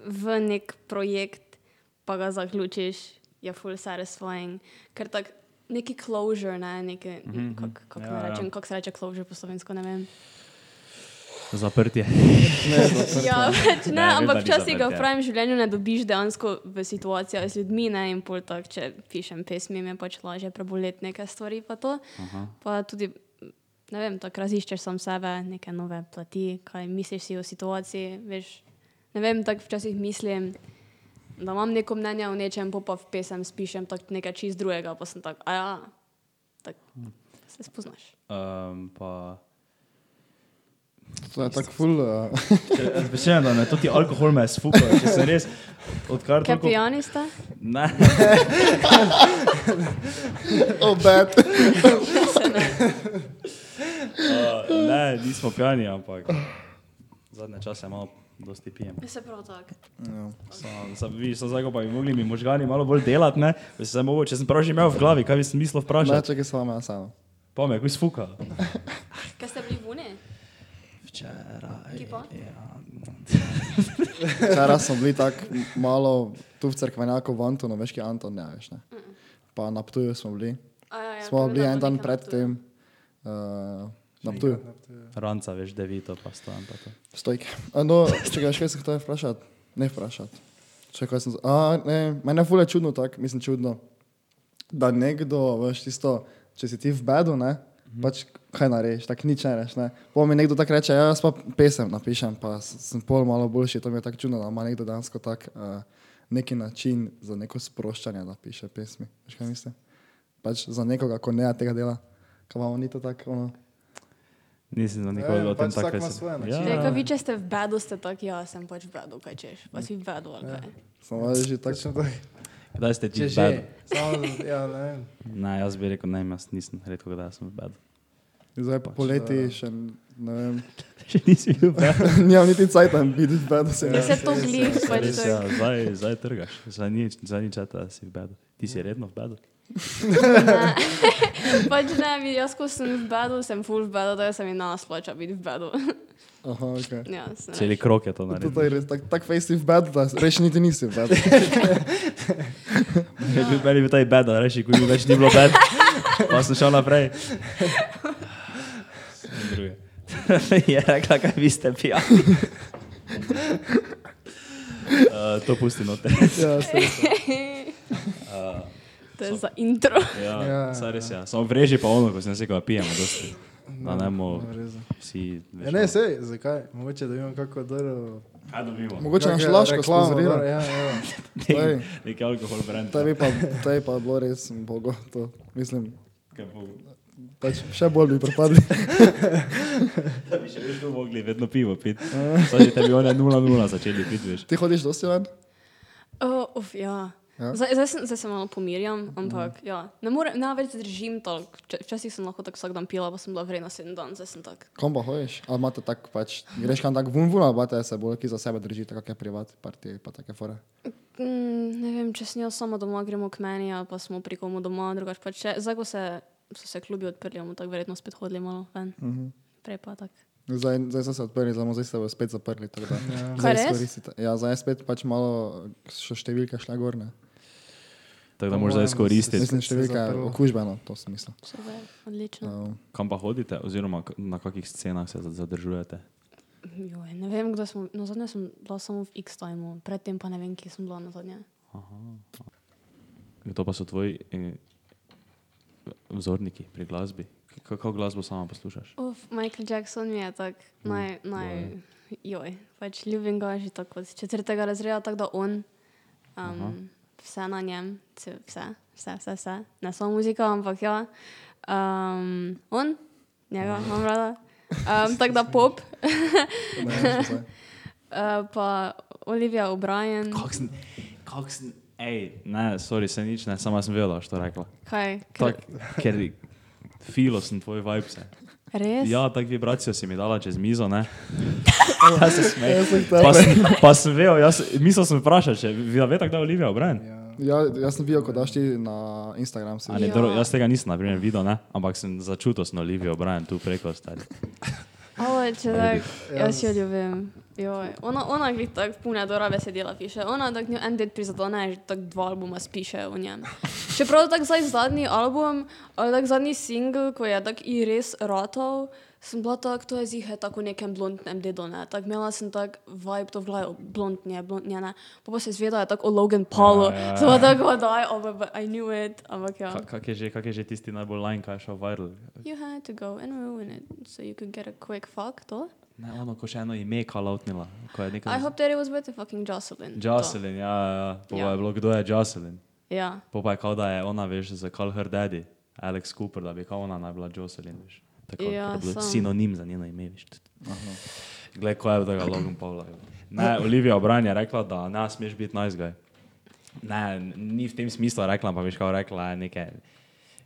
[SPEAKER 1] v nek projekt, pa ga zaključiš, je full satisfying. Ker tak neki closure, ne, neki, mm -hmm. kako kak
[SPEAKER 2] Ja, ja.
[SPEAKER 1] ja, rečem, kako se reče closure po slovensko, ne vem.
[SPEAKER 2] Zaprtje.
[SPEAKER 1] Ja, pač ne,
[SPEAKER 2] Ne, vem, da
[SPEAKER 1] ampak
[SPEAKER 2] ni
[SPEAKER 1] včasih ga
[SPEAKER 2] zaprt,
[SPEAKER 1] v
[SPEAKER 2] ja.
[SPEAKER 1] pravem življenju ne dobiš dejansko v situacijah z ljudmi. Ne, in pol tak, če pišem pesmi, mi je pač lažje preboleti neke stvari. Pa, to. pa tudi, ne vem, tako raziščeš sam sebe, neke nove plati, kaj misliš si o situaciji. Veš, ne vem, tako včasih mislim. Da imam neko mnenje o nečem, pol pa v pesem spišem tak nekaj čist drugega, pa sem tak, a ja, tak, se spoznaš.
[SPEAKER 2] Um, pa
[SPEAKER 3] To je tako ful. Uh,
[SPEAKER 2] Rečeno, da me to ti alkohol me sfuka, če se res odkar
[SPEAKER 1] Kaj
[SPEAKER 2] toliko...
[SPEAKER 1] pijani ste?
[SPEAKER 2] Ne,
[SPEAKER 3] oh, bad.
[SPEAKER 2] uh, ne, nismo pijani, ampak zadnje čase malo dosti pijem.
[SPEAKER 1] Se prav tako.
[SPEAKER 3] Ja.
[SPEAKER 2] Sam, sam, vidiš, sem zdaj, ko pa bi mogli mi možgani malo bolj delati, ne? Bi se mogo, če sem prav že imel v glavi, kaj bi sem mislil
[SPEAKER 3] Ne,
[SPEAKER 2] vprašati?
[SPEAKER 3] čakaj samo mene samo.
[SPEAKER 2] Pa me, kuj sfuka.
[SPEAKER 1] Kaj ste bili vune?
[SPEAKER 2] Včeraj.
[SPEAKER 1] Ki pa?
[SPEAKER 2] Ja,
[SPEAKER 3] Včeraj smo bili tako malo tu v cerkvenjaku v Antonu, veš, ki je Anton, ne veš. Ne? Pa na Ptuju smo bili.
[SPEAKER 1] ja,
[SPEAKER 3] Smo bili en dan pred tem. Uh, na Ptuju.
[SPEAKER 2] ranca, veš, devito, pa stojim pa to.
[SPEAKER 3] Stojke. A No, čakaj, še kaj sem hotel vprašati? Ne vprašati. Čakaj, sem... z- A, ne, mene fule čudno tako, mislim čudno, da nekdo, veš, tisto, če si ti v bedu, ne, pač kaj narediš, tako nič ne reš, ne. Po mi nekdo tako reče, ja, jaz pa pesem napišem, pa s- sem pol malo boljši, to mi je tako čudno, da ima nekdo dansko tak uh, neki način za neko sproščanje, da piše pesmi. Veš, kaj mislim? Pač za nekoga, ko ne tega dela. Kaj vam ni to tako, ono,
[SPEAKER 2] Nisem za nikoli
[SPEAKER 5] Ja,
[SPEAKER 2] o tem
[SPEAKER 5] pač vsak
[SPEAKER 2] tako
[SPEAKER 5] ima svoje načine.
[SPEAKER 1] Če
[SPEAKER 2] Ja,
[SPEAKER 1] vi, če ste v bedu, ste tak, ja, sem pač v bedu, kaj češ, pa si v bedu, ali kaj.
[SPEAKER 3] samo že tako.
[SPEAKER 5] Točno tako.
[SPEAKER 2] kdaj ste ti
[SPEAKER 5] Če
[SPEAKER 2] v
[SPEAKER 5] že,
[SPEAKER 2] bedu?
[SPEAKER 5] samo, ja, ne vem.
[SPEAKER 2] Ne, jaz bi rekel, ne, jaz nisem redko, kdaj sem v bedu.
[SPEAKER 3] Zdaj pa
[SPEAKER 2] Pač,
[SPEAKER 3] poleti
[SPEAKER 5] da.
[SPEAKER 3] še, ne vem.
[SPEAKER 2] Še nisi bil v bedu.
[SPEAKER 3] Nimam niti cajtan, vidiš, da se
[SPEAKER 1] Ja,
[SPEAKER 3] ne.
[SPEAKER 1] se to
[SPEAKER 5] res,
[SPEAKER 1] glih,
[SPEAKER 5] res,
[SPEAKER 1] pač
[SPEAKER 2] Res,
[SPEAKER 1] to.
[SPEAKER 2] ja, zdaj, zdaj trgaš, zdaj nič, zdaj nič, da si v bedu. Ti si redno v bedu.
[SPEAKER 1] Pač ne, mi- jaz, ko sem v bedu, sem full v bedu, da se mi nas plača biti v bedu.
[SPEAKER 3] Aha, okay.
[SPEAKER 1] Ja, se ne.
[SPEAKER 2] Celi krok je to
[SPEAKER 3] To
[SPEAKER 2] naredil.
[SPEAKER 3] je res tako tak fejsi v bed, da reši niti nisi v bed.
[SPEAKER 2] Ja. Bil meni je bil ta bed, da reši, ko mi več ni bilo bed. Pa sem šel naprej. Druge. je rekla, kaj vi ste pijani. uh, to pusti note.
[SPEAKER 3] Ja, se-
[SPEAKER 2] Uh,
[SPEAKER 1] To je za intro.
[SPEAKER 2] ja,
[SPEAKER 5] Ja,
[SPEAKER 2] ja, saj res je. Ja. Samo vreži pa ono, ko sem rekel, da pijemo dosti. Da ne bomo
[SPEAKER 5] Nima veze.
[SPEAKER 2] vsi več.
[SPEAKER 5] Ja, ne, sej, zakaj? Mogoče da imam kako dobro.
[SPEAKER 2] Kaj dobimo?
[SPEAKER 3] Mogoče naš
[SPEAKER 5] kakšno
[SPEAKER 3] laško
[SPEAKER 5] reklamo, dobro,
[SPEAKER 3] sponzorira.
[SPEAKER 5] Ja, ja.
[SPEAKER 3] Ej,
[SPEAKER 2] Nek alkohol brend.
[SPEAKER 3] To je pa, to je pa bilo res bogo. To, mislim, pač še bolj bi propadli.
[SPEAKER 2] Da bi še vedno mogli vedno pivo piti. Saj že tebi one 0-0 začeli piti, veš.
[SPEAKER 3] Ti hodiš dosti ven?
[SPEAKER 1] Oh, uf, ja.
[SPEAKER 3] Ja?
[SPEAKER 1] Zdaj, zdaj, sem, zdaj se malo pomirjam, ampak ja. ne morem, ne več držim toliko. Vč- Včasih sem lahko tako vsak dan pila, pa sem bila vredna sedem dan, zdaj sem tak.
[SPEAKER 3] Kom pa hojiš? A imate tako pač, greš kam tako vun vun, ali pa te se bolj, ki za sebe drži, tako je privat, partije pa take fore.
[SPEAKER 1] Mm, ne vem, če sem jaz sama doma, gremo k meni, ali pa smo pri komu doma, drugače pa če. Zdaj, ko se, so se klubi odprli, bomo tako verjetno spet hodili malo ven.
[SPEAKER 3] Uh
[SPEAKER 5] Mhm.
[SPEAKER 3] -huh.
[SPEAKER 1] Prej pa tak.
[SPEAKER 3] Zdaj, zdaj so se odprli, samo zdaj se bodo spet zaprli. tako da
[SPEAKER 5] Ja.
[SPEAKER 3] zdaj
[SPEAKER 1] Kaj res?
[SPEAKER 3] izkoristite. Ja, zdaj je spet pač malo še številka šla gorne.
[SPEAKER 2] Tako da
[SPEAKER 5] Po
[SPEAKER 2] moraš zdaj
[SPEAKER 5] mojem se-
[SPEAKER 2] izkoristiti.
[SPEAKER 3] Mislim,
[SPEAKER 5] se
[SPEAKER 3] številka je
[SPEAKER 5] zaprlo.
[SPEAKER 3] okužbena, to sem mislil.
[SPEAKER 1] Super, odlično.
[SPEAKER 3] Um,
[SPEAKER 2] Kam pa hodite, oziroma k- na kakih scenah se za- zadržujete?
[SPEAKER 1] Joj, ne vem, kdo smo. No, zadnje sem bila samo v X-Timeu, predtem pa ne vem, kje sem bila na zadnje.
[SPEAKER 2] Kdo pa so tvoji eh, vzorniki pri glasbi? K- Kako glasbo sama poslušaš?
[SPEAKER 1] Uf, Michael Jackson mi je tak naj, naj, joj, pač ljubim ga že tako od četrtega razreda, tako da on,
[SPEAKER 2] Aha.
[SPEAKER 1] um, vse na njem, ce- vse, vse, vse, vse, ne samo muzika, ampak ja, um, on, njega imam rada, um, tako da pop, uh, pa Olivia O'Brien,
[SPEAKER 2] Kakšen, kakšen, ej, ne, sorry, se nič ne, sama sem vedela, što rekla.
[SPEAKER 1] kaj,
[SPEAKER 2] Tak,
[SPEAKER 1] ker,
[SPEAKER 2] ker filo sem tvoj vibe se.
[SPEAKER 1] res?
[SPEAKER 2] Ja, tak vibracijo si mi dala čez mizo, ne? Ja, se smej.
[SPEAKER 3] Jaz sem tebe.
[SPEAKER 2] Pa sem, pa sem vedel, jaz, mislil sem vprašati, če ja, vi veste, kdaj je Olivia O'Brien?
[SPEAKER 5] Ja.
[SPEAKER 3] Ja, jaz sem videl, ko daš ti na Instagram. Si.
[SPEAKER 2] A Ne,
[SPEAKER 1] Ja.
[SPEAKER 2] ja. Jaz tega nisem na primer videl, ne? ampak sem začutil, da je Olivia O'Brien tu preko stari.
[SPEAKER 1] Ovo, če tak, jaz
[SPEAKER 5] Jaz-
[SPEAKER 1] jo ljubim. Joj. Ona, ona glih tako pune do rabe sedela piše. Ona tak njo en del prizadane, že tako dva albuma spiše o njem. Čeprav tak zdaj zadnji album, ali tak zadnji single, ko je tak i res rotov, sem bila tak, to je zihe tako v nekem blondnem dedu, ne. Tak imela sem tak vibe to v glavi, blondnje, blondnje, ne. Pa pa se zvedela je tako o hát Logan Paulu.
[SPEAKER 2] Ja, ja, ja.
[SPEAKER 1] Zelo tako, daj, oh, but, but I knew it, ampak ja.
[SPEAKER 2] Ka- Kak je, že, kak je že tisti najbolj lajn, kaj je šel viral?
[SPEAKER 1] You had to go and ruin it so you could get a quick fuck, to?
[SPEAKER 2] Ne, ono, ko še eno ime kalautnila. Ko je
[SPEAKER 1] I
[SPEAKER 2] nekaj...
[SPEAKER 1] hope that it was better fucking Jocelyn. To.
[SPEAKER 2] Jocelyn, ja, ja, ja. Po
[SPEAKER 1] Ja.
[SPEAKER 2] pa je bilo, kdo je Jocelyn.
[SPEAKER 1] Ja.
[SPEAKER 2] Po pa je kao, da je ona, veš, za Call Her Daddy, Alex Cooper, da bi kao ona naj bila Jocelyn, veš. Tako,
[SPEAKER 1] Ja,
[SPEAKER 2] ker je bilo
[SPEAKER 1] sem.
[SPEAKER 2] sinonim za njeno ime. Viš.
[SPEAKER 3] Aha.
[SPEAKER 2] Glej, ko je tega Logan Paula. Ne, Olivia Obran je rekla, da ne smeš biti nice guy. Ne, ni v tem smislu rekla, pa veš, kaj rekla je nekaj.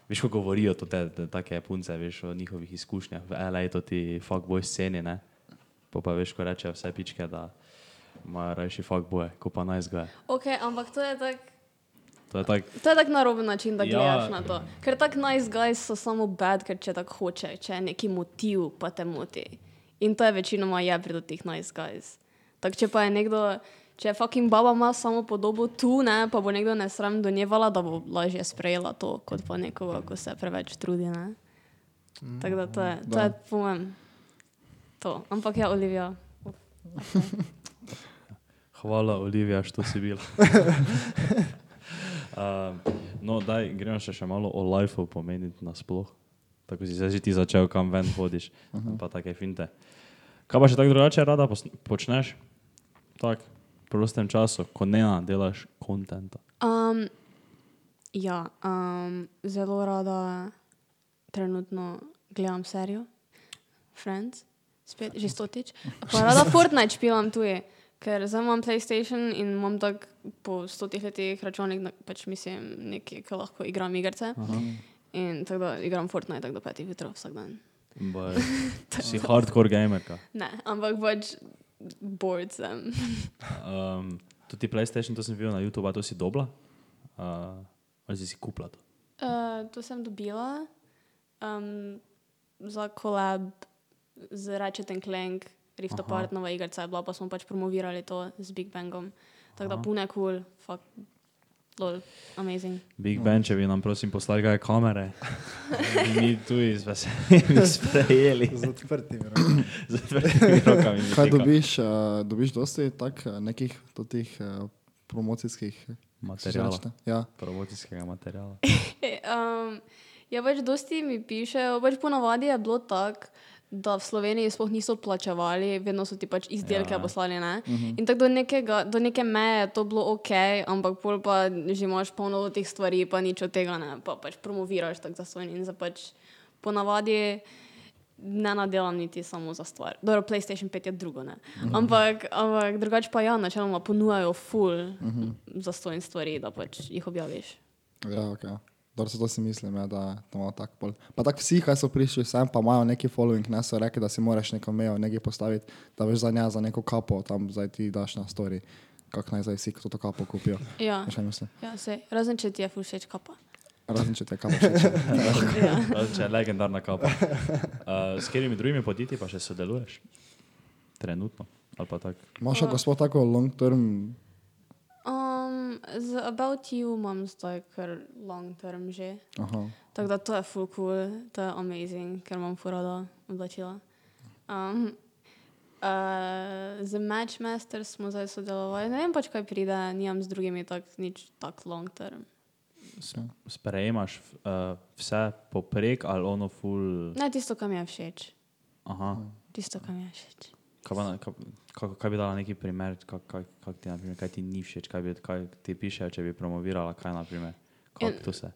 [SPEAKER 2] Veš, ko govorijo to te, te take punce, veš o njihovih izkušnjah v L.A., to ti fuckboy sceni, ne? Pa pa veš, ko rečejo vse pičke, da imajo rajši fuckboy, ko pa nice guy.
[SPEAKER 1] Ok, ampak to je tak,
[SPEAKER 2] To je tako,
[SPEAKER 1] to je tak naroben način, da
[SPEAKER 2] Ja.
[SPEAKER 1] gledaš na to. Ker tak nice guys so samo bad, ker če tako hoče, če je neki motiv, pa te moti. In to je večinoma je pri teh nice guys. Tak, če pa je nekdo, če je fucking baba ima samo podobo tu, ne, pa bo nekdo nesram do nje vala, da bo lažje sprejela to, kot pa nekoga, ko se preveč trudi. Ne. Tako da to je, to
[SPEAKER 3] Da.
[SPEAKER 1] je po mojem, to. Ampak ja, Olivia.
[SPEAKER 2] hvala Olivia, što si bila. um, no, daj, gremo še, še malo o lifeu pomeniti nasploh. Tako si zdaj že ti začel, kam ven hodiš,
[SPEAKER 3] No. Mhm.
[SPEAKER 2] pa take finte. Kaj pa še tako drugače rada posn- počneš? Tak, v prostem času, ko ne delaš kontenta.
[SPEAKER 1] Um, ja, um, zelo rada trenutno gledam serijo Friends, spet že stotič. Pa rada Fortnite špilam tudi, ker zdaj imam PlayStation in imam tako po stotih letih računalnik, na- pač mislim, nekaj, ki lahko igram igrice. In tako da igram Fortnite tako do petih jutra vsak dan.
[SPEAKER 2] Boj, si hardcore gamerka.
[SPEAKER 1] Ne, ampak pač bored sem.
[SPEAKER 2] Um, tudi PlayStation, to sem videl na YouTube, to si dobila? Uh, ali si si kupila to?
[SPEAKER 1] Uh, to sem dobila um, za kolab z Ratchet and Clank, Rift
[SPEAKER 2] Aha.
[SPEAKER 1] Apart, nova igrica je bila, pa smo pač promovirali to z Big Bangom. Tako da
[SPEAKER 2] Aha.
[SPEAKER 1] pune kul, cool, fuck, lol, amazing.
[SPEAKER 2] Big Ben, če bi nam prosim poslali kaj kamere, bi mi tu iz veselja sprejeli
[SPEAKER 5] Ja, Z odprtimi rokami.
[SPEAKER 2] z odprtimi rokami. bi
[SPEAKER 3] Kaj
[SPEAKER 2] rekel.
[SPEAKER 3] dobiš? Uh, dobiš dosti tak, eh, nekih totih uh, promocijskih
[SPEAKER 2] Materiala,
[SPEAKER 3] reče? Ja.
[SPEAKER 2] promocijskega materiala.
[SPEAKER 1] um, ja, pač dosti mi pišejo, pač ponavadi je bilo tako. Da v Sloveniji sploh niso plačevali, vedno so ti pač izdelke
[SPEAKER 2] Ja.
[SPEAKER 1] ja. poslali. Ne? In tako do, nekega, do neke meje je to bilo ok, ampak pol pa že imaš polno teh stvari, pa nič od tega ne, pa pač promoviraš tako za svoj in za pač ponavadi ne nadelam niti samo za stvar. Dobro, PlayStation 5 je drugo, ne. Ampak, ampak drugače pa ja, načeloma ponujajo full za svoj in stvari, da pač jih objaviš.
[SPEAKER 3] Ja, ok. Dobro, se to si mislim, ja, da to imamo tako pol. Pa tako vsi, kaj so prišli sem, pa imajo neki following, ne so rekli, da si moraš neko mejo nekaj postaviti, da veš za nja, za neko kapo, tam zdaj ti daš na story, kako naj zdaj vsi to, to kapo kupijo.
[SPEAKER 1] Ja.
[SPEAKER 3] Veš, kaj mislim?
[SPEAKER 1] Ja, sej, razen če ti je ful všeč kapa.
[SPEAKER 3] Razen če te kapo še.
[SPEAKER 2] Če je legendarna kapa. Uh, s katerimi drugimi podjetji pa še sodeluješ? Trenutno. Ali pa tako.
[SPEAKER 3] Imaš še gospod tako long term,
[SPEAKER 1] Um, z About You imam zdaj kar long term že.
[SPEAKER 3] aha,
[SPEAKER 1] Tako da to je full cool, to je amazing, ker imam furada oblačila. Um, uh, z Matchmaster smo zdaj sodelovali, ne vem pač kaj pride, nimam z drugimi tak, nič tako long term.
[SPEAKER 3] vse.
[SPEAKER 2] Sprejemaš uh, vse poprek ali ono full.
[SPEAKER 1] Ne tisto, kar mi je všeč.
[SPEAKER 2] Aha.
[SPEAKER 1] Tisto, kar mi je všeč.
[SPEAKER 2] Kaj, pa na- kaj, kaj, kaj bi dala neki primer, kaj, kaj, kaj, ti, na primer, kaj ti ni všeč, kaj, bi, kaj ti piše, če bi promovirala, kaj na primer. Kaktuse.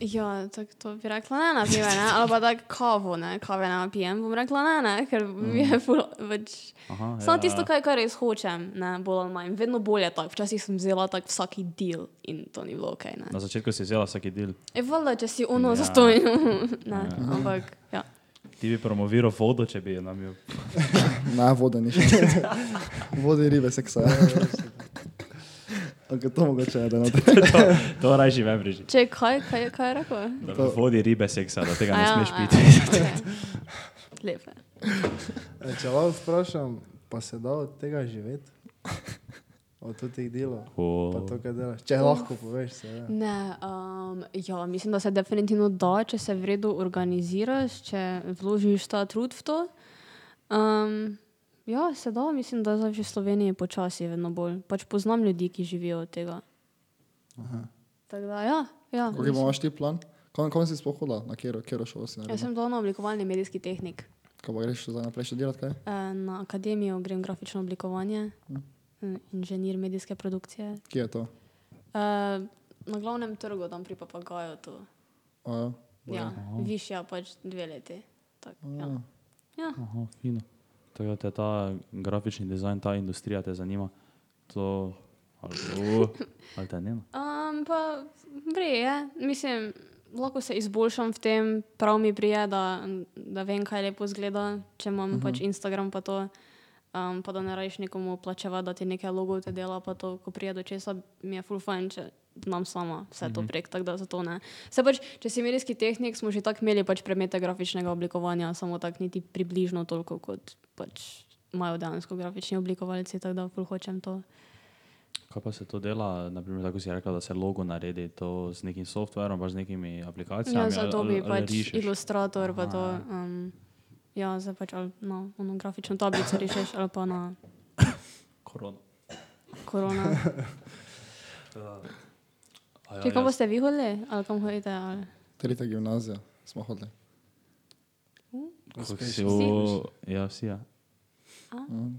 [SPEAKER 1] Ja, tako to bi rekla ne, na primer, ne, ali pa tako kavo, ne, kave ne pijem, bom rekla ne, ne ker mi je ful, pač
[SPEAKER 2] Aha,
[SPEAKER 1] Samo
[SPEAKER 2] ja,
[SPEAKER 1] tisto,
[SPEAKER 2] ja.
[SPEAKER 1] kar, kar res hočem, ne, bolj ali manj. Vedno bolje tako. Včasih sem vzela tak vsaki del in to ni bilo ok.
[SPEAKER 2] Na začetku si vzela vsak del.
[SPEAKER 1] E, valjda, če si ono
[SPEAKER 2] No, Ja.
[SPEAKER 1] ja. zastojil. ne,
[SPEAKER 2] Ja.
[SPEAKER 1] ampak ja.
[SPEAKER 2] Ti bi promoviral vodo, če bi nam jo.
[SPEAKER 3] Ne, vode ni še. Vode ribe seksa.
[SPEAKER 5] ja,
[SPEAKER 3] Ok, to mogoče je, da ne.
[SPEAKER 2] To raje živem reži.
[SPEAKER 1] Če kaj, kaj, kaj je rekel?
[SPEAKER 2] Da v vodi ribe seksa, da tega ne
[SPEAKER 1] ja,
[SPEAKER 2] smeš piti.
[SPEAKER 1] piti. Lepe.
[SPEAKER 5] E, Če vas vprašam, pa se da od tega živeti? Od teh delov? Pa
[SPEAKER 2] O,
[SPEAKER 5] to, Mm. kar delaš. Če lahko poveš, se da.
[SPEAKER 1] Ne, um, ja, mislim, da se definitivno da, če se v redu organiziraš, če vložiš ta trud v to. Um, ja, se da, mislim, da zdaj že v Sloveniji počasi vedno bolj. Pač poznam ljudi, ki živijo od tega. Tako da, ja, ja,
[SPEAKER 3] Kako imaš ti plan? Kam, kam si spohoda, na kjero, kjero šolo si
[SPEAKER 1] Jaz
[SPEAKER 3] naredil?
[SPEAKER 1] sem dolno oblikovalni medijski tehnik.
[SPEAKER 3] Kaj pa greš zdaj naprej še delati kaj?
[SPEAKER 1] Eh, Na akademijo grem grafično oblikovanje, eh, inženir medijske produkcije.
[SPEAKER 3] Kje je to?
[SPEAKER 1] Eh, Na glavnem trgu tam pri papagaju tu.
[SPEAKER 3] Uh,
[SPEAKER 1] Ja, višja pač dve leti. Tak,
[SPEAKER 3] Mm.
[SPEAKER 1] ja. Ja.
[SPEAKER 2] Oh.
[SPEAKER 6] Aha, fino. Tako da te ta grafični dizajn, ta industrija te zanima. To, ali, o, ali te ne? no.
[SPEAKER 1] Um, pa gre, je. mislim, lahko se izboljšam v tem, prav mi prije, da, da vem, kaj lepo zgleda, če imam uh -huh. pač Instagram, pa to. Um, pa da ne rajš nekomu plačevati, da ti nekaj logo te dela, pa to, ko prije do česa, mi je full fajn, če znam sama vse to prek, tako da zato ne. Se pač, če si medijski tehnik, smo že tako imeli pač predmete grafičnega oblikovanja, samo tako niti približno toliko, kot pač imajo dejansko grafični oblikovalci, tako da full hočem to.
[SPEAKER 6] Kaj pa se to dela, naprimer, tako si rekla, da se logo naredi to z nekim softverom, pa z nekimi aplikacijami?
[SPEAKER 1] Ja, za
[SPEAKER 6] ali-
[SPEAKER 1] to
[SPEAKER 6] ali-
[SPEAKER 1] bi
[SPEAKER 6] ali
[SPEAKER 1] pač
[SPEAKER 6] rišeš?
[SPEAKER 1] ilustrator, pa to. Um, ja, za pač ali na ono grafično tablico rišeš, ali pa na
[SPEAKER 6] Korona.
[SPEAKER 1] korona.
[SPEAKER 6] A ja,
[SPEAKER 1] Če kam
[SPEAKER 6] jaz-
[SPEAKER 1] boste vi hodili, ali kam hodite? Ali?
[SPEAKER 3] Tretja gimnazija smo hodili.
[SPEAKER 6] kako si v- Ja, vsi, ja.
[SPEAKER 3] Mhm.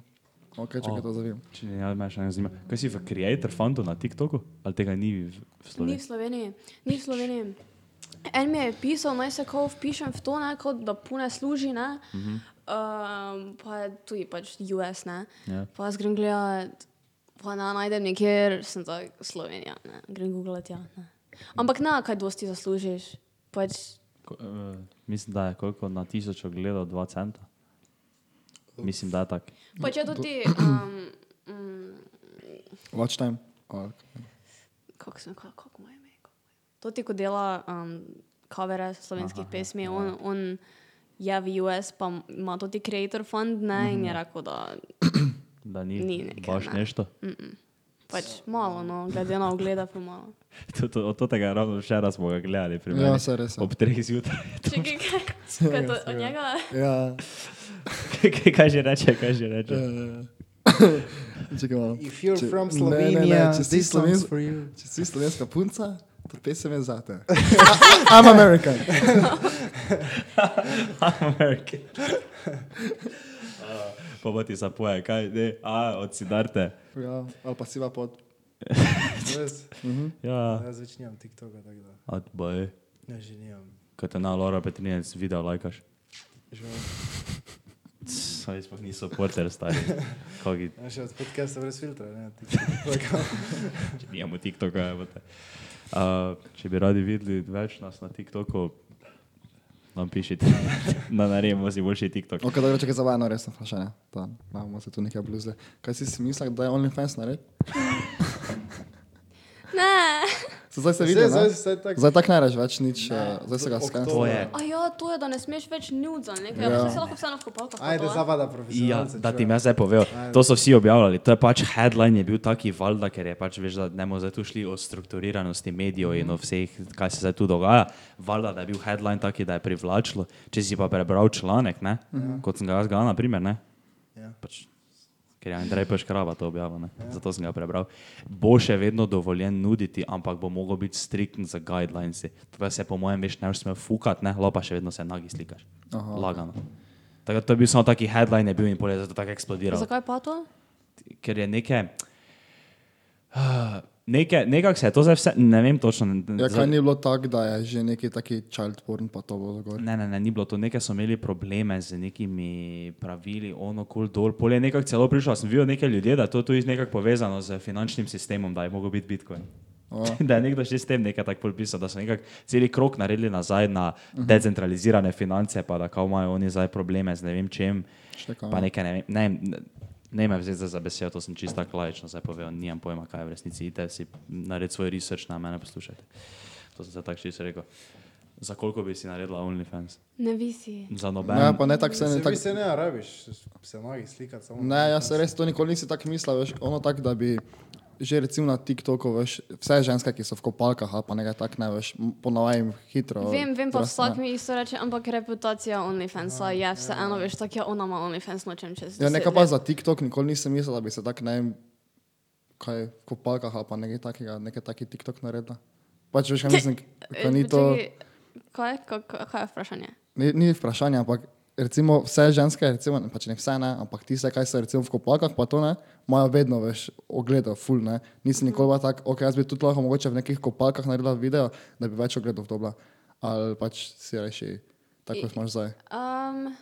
[SPEAKER 3] Ok, čakaj,
[SPEAKER 6] O.
[SPEAKER 3] to zavim.
[SPEAKER 6] Če ne, ja, me še ne zanima. Kaj si v Creator Fundu na TikToku? Ali tega ni v, v
[SPEAKER 1] Ni
[SPEAKER 6] Sloveniji?
[SPEAKER 1] v Sloveniji, ni v Sloveniji. En mi je pisal, naj se kao vpišem v to, ne, kot da pune služi, ne. Uh -huh. um, pa je tudi pač US, ne.
[SPEAKER 6] Ja.
[SPEAKER 1] Pa jaz grem gledat, pa ne najdem nikjer, sem tak Slovenija, ne. Grem googlat, ja. Ne. Ampak ne, kaj dosti zaslužiš. Pač
[SPEAKER 6] Ko,
[SPEAKER 2] eh,
[SPEAKER 6] uh, mislim, da je koliko na tisoč ogledal 2 centa. Mislim, da je tako.
[SPEAKER 1] Pa če tudi, um, um,
[SPEAKER 3] Watch time. O,
[SPEAKER 1] kako sem, kako, kako mu je ime? kako mu je ime? Toti, ko dela um, covere slovenskih pesmi, on, on je v US, pa ima tudi creator fund, ne, in je rekel, da
[SPEAKER 6] Da ni,
[SPEAKER 1] Ni nekaj,
[SPEAKER 6] baš
[SPEAKER 1] ne.
[SPEAKER 6] nešto.
[SPEAKER 1] pač malo, no, glede na ogleda, pa malo.
[SPEAKER 2] To- to- Od tega je ravno včeraj smo ga gledali. pri
[SPEAKER 3] Ja,
[SPEAKER 2] meni.
[SPEAKER 3] se res. je.
[SPEAKER 2] Ob treh zjutraj.
[SPEAKER 1] Če kaj, kaj, kaj to, od njega,
[SPEAKER 3] Ja,
[SPEAKER 2] Kaj- kaj že reče, kaj že reče.
[SPEAKER 3] eh, čakaj malo.
[SPEAKER 5] If you're
[SPEAKER 3] Če-
[SPEAKER 5] from
[SPEAKER 3] ne, ne, ne,
[SPEAKER 5] Slovenia,
[SPEAKER 3] če si
[SPEAKER 5] this song's
[SPEAKER 3] Sloven-
[SPEAKER 5] for you.
[SPEAKER 3] Če si slovenska punca, to pesem je zate. I'm American.
[SPEAKER 2] Amerike. Pa bo ti zapoje, kaj ne, a odsidarte.
[SPEAKER 3] Ja, ali pa siva pod. Mhm.
[SPEAKER 5] Res?
[SPEAKER 2] Ja,
[SPEAKER 5] Jaz več nimam TikToka, tako da
[SPEAKER 2] odboj.
[SPEAKER 5] ne že nimam.
[SPEAKER 2] Kaj te na Lora Petrinec video lajkaš?
[SPEAKER 5] Žal.
[SPEAKER 2] Saj smo niso porter stari. Kogi,
[SPEAKER 5] Ja, še od podcasta brez filtra, ne. TikToka.
[SPEAKER 2] če nijamo TikToka, je bote. Uh, če bi radi videli več nas na TikToku, nam pišite, da naredimo si boljši TikTok.
[SPEAKER 3] Ok, dobro, čakaj, zavajeno resno vprašanje. Da, imamo se tu nekaj bluzle. Kaj si si mislil, da je OnlyFans nared?
[SPEAKER 1] ne.
[SPEAKER 3] Se zdaj se vidi,
[SPEAKER 5] Zdaj, zdaj,
[SPEAKER 3] ne?
[SPEAKER 5] zdaj tako.
[SPEAKER 3] Zdaj tak ne reš več nič, eh, zdaj se ga
[SPEAKER 5] Oktobra.
[SPEAKER 3] skan.
[SPEAKER 2] To je.
[SPEAKER 1] A ja, to je, da ne smeš več nudes ali nekaj,
[SPEAKER 3] Ja.
[SPEAKER 1] ja. se lahko vseeno v kopalkah. pa to,
[SPEAKER 5] Ajde,
[SPEAKER 1] a?
[SPEAKER 5] zavada
[SPEAKER 2] Ja,
[SPEAKER 5] profesionalce.
[SPEAKER 2] da ti
[SPEAKER 5] čujem.
[SPEAKER 2] jaz zdaj povem. To so vsi objavljali. To je pač headline je bil taki valjda, ker je pač veš, da ne bomo zdaj tu šli o strukturiranosti medijev in o vseh, kaj se zdaj tu dogaja. Valjda, da je bil headline taki, da je privlačilo. Če si pa prebral članek, ne, kot sem ga jaz ga, na primer, ne,
[SPEAKER 5] Ja.
[SPEAKER 2] pač, ker je Andrej Peškraba to objavil, ne, zato sem ga prebral. Bo še vedno dovoljen nuditi, ampak bo mogel biti strikten za guidelines. To se po mojem veš ne boš smel fukati, ne, lopa še vedno se nagi slikaš.
[SPEAKER 3] Aha.
[SPEAKER 2] Lagano. Tako da to je bil samo taki headline, je bil in polje, zato tako eksplodiral.
[SPEAKER 1] Zakaj pa to?
[SPEAKER 2] Ker je neke. Neke, nekako se je to zdaj vse, ne vem točno.
[SPEAKER 3] Ja,
[SPEAKER 2] zdaj-
[SPEAKER 3] kaj ni bilo tako, da je že neki taki child porn pa to bilo zgor.
[SPEAKER 2] Ne, ne, ne, ni bilo to. Nekaj so imeli probleme z nekimi pravili, ono kul dol. Polje nekako celo prišlo, sem videl nekaj ljudi, da je to tudi nekako povezano z finančnim sistemom, da je mogel biti Bitcoin.
[SPEAKER 3] O.
[SPEAKER 2] da je nekdo še s tem nekaj tako podpisal, da so nekako celi krok naredili nazaj na decentralizirane finance, pa da kao imajo oni zdaj probleme z ne vem čem.
[SPEAKER 3] Še kaj.
[SPEAKER 2] Pa nekaj ne vem. Ne, vem, ne, ne me vzeti za besedo, to sem čisto tako laično zdaj povedal, nimam pojma, kaj je v resnici. Idite si narediti svoj research na mene, poslušajte. To sem se tako čisto rekel. Za koliko bi si naredila OnlyFans?
[SPEAKER 1] Ne visi.
[SPEAKER 2] Za
[SPEAKER 3] Ne,
[SPEAKER 2] noben.
[SPEAKER 3] Ja, pa ne tako se ne
[SPEAKER 5] Se
[SPEAKER 3] tako.
[SPEAKER 5] mi se ne rabiš, se magi slikati samo.
[SPEAKER 3] Ne, jaz se res to nikoli nisi tako mislil, veš, ono tako, da bi že recimo na TikToku, veš, vse ženske, ki so v kopalkah ali pa nekaj tak, ne veš, ponavljam hitro.
[SPEAKER 1] Vem, vem, pa
[SPEAKER 3] rasne.
[SPEAKER 1] vsak mi isto reče, ampak reputacija OnlyFansa je vseeno, veš, tako je ona ima OnlyFans nočem čez.
[SPEAKER 3] Ja,
[SPEAKER 1] deset
[SPEAKER 3] nekaj pa
[SPEAKER 1] let.
[SPEAKER 3] za TikTok nikoli nisem mislil, da bi se tako, ne vem, kaj v kopalkah ali pa nekaj takega, nekaj taki TikTok naredila. Pač veš, kaj mislim,
[SPEAKER 1] Eh,
[SPEAKER 3] kaj ni to,
[SPEAKER 1] počakaj, Kaj, kaj, kaj je vprašanje?
[SPEAKER 3] ni, ni vprašanje, ampak recimo vse ženske, recimo, ne, pač ne vse ne, ampak tiste, kaj so recimo v kopalkah, pa to ne, imajo vedno več ogledov, ful ne. Nisem nikoli bila tako, ok, jaz bi tudi lahko mogoče v nekih kopalkah naredila video, da bi več ogledov dobila. Ali pač si reši, tako kot imaš zdaj.
[SPEAKER 1] Um,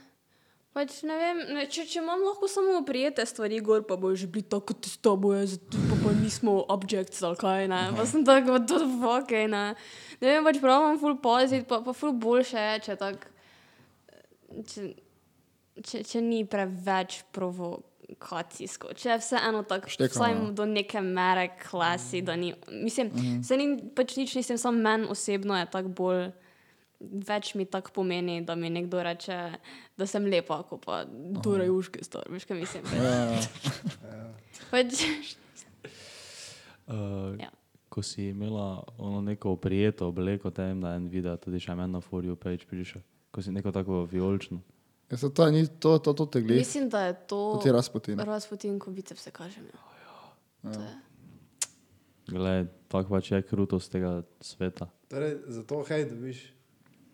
[SPEAKER 1] pač ne vem, ne, če, če imam lahko samo oprijete stvari gor, pa boš bili tako kot s tabo, jaz pa, pa nismo objects ali kaj, ne, pa sem tako, da to fuck, ne. Ne vem, pač pravim ful paziti, pa, pa ful boljše je, če tak, če, če, če ni preveč provokacijsko, če je vseeno tako,
[SPEAKER 3] Štekamo,
[SPEAKER 1] vsaj
[SPEAKER 3] ja.
[SPEAKER 1] do neke mere klasi, da ni, mislim, se ni pač nič, nisem sam meni osebno je tako bolj več mi tako pomeni, da mi nekdo reče, da sem lepa, kot pa torej uški star, veš kaj mislim.
[SPEAKER 3] Ja.
[SPEAKER 1] Pač,
[SPEAKER 2] Uh,
[SPEAKER 1] Ja.
[SPEAKER 2] Ko si imela ono neko prijeto obleko, te vem, da je en video, tudi še meni na forju page prišel. Ko si neko tako vijolično.
[SPEAKER 3] Ja, saj to, ni, to, to, to te gleda,
[SPEAKER 1] mislim, da je to
[SPEAKER 3] to ti Ja. je razpotin.
[SPEAKER 1] razpotin, ko ja. biceps se kaže.
[SPEAKER 2] Glej, tako pač je krutost tega sveta.
[SPEAKER 5] Torej, zato hej, dobiš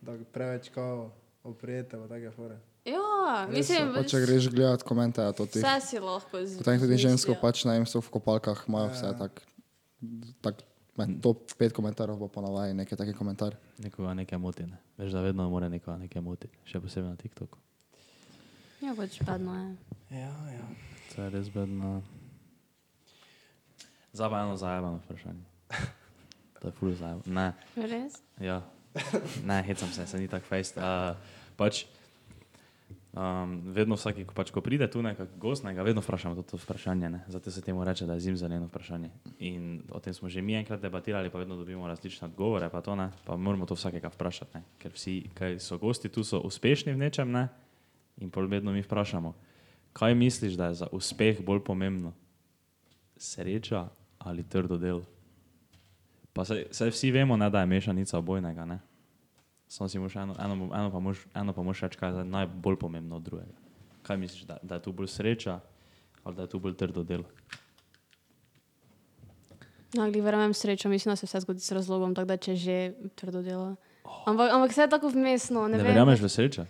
[SPEAKER 5] da preveč kao oprijete v take fore.
[SPEAKER 1] Ja, mislim,
[SPEAKER 3] Pa če greš gledat komente, ja, to ti.
[SPEAKER 1] vse si lahko z.
[SPEAKER 3] Potem tudi žensko,
[SPEAKER 1] mislijo.
[SPEAKER 3] pač na enem so v kopalkah, imajo vse tako. Tak, med top 5 komentarjev bo ponavadi nekaj takih komentarjev.
[SPEAKER 2] Nekoga nekaj moti. Ne? Veš, da vedno mora nekoga nekaj moti, še posebej na TikToku.
[SPEAKER 1] Ja, pač vedno je.
[SPEAKER 5] Ja, ja.
[SPEAKER 2] To je res bedno. Zabavno, zabavno vprašanje. To je ful zabavno. Ne,
[SPEAKER 1] Res?
[SPEAKER 2] ja. ne hecam se, se ni tako fejst. Uh, pač, um, vedno vsaki, ko pač, ko pride tu nekak gost, ne, ga vedno vprašam to, to vprašanje. Ne? Zato se temu reče, da je zim zeleno vprašanje. In o tem smo že mi enkrat debatirali, pa vedno dobimo različne odgovore, pa, to, ne, pa moramo to vsakega vprašati. Ne? Ker vsi, ki so gosti tu, so uspešni v nečem ne? in pol vedno mi vprašamo, kaj misliš, da je za uspeh bolj pomembno? Sreča ali trdo delo? Pa saj, saj vsi vemo, ne, da je mešanica obojnega. Ne? Samo si moraš eno, eno, eno pa moraš- eno pa moraš reči, kaj je zdaj najbolj pomembno od drugega. Kaj misliš, da, da je tu bolj sreča ali da je tu bolj trdo delo?
[SPEAKER 1] No, ali verjamem srečo, mislim, da se vse zgodi s razlogom, tako da če že trdo dela. Ampak, ampak vse je tako vmesno, ne,
[SPEAKER 2] Ne, ne
[SPEAKER 1] vem.
[SPEAKER 2] verjameš v srečo?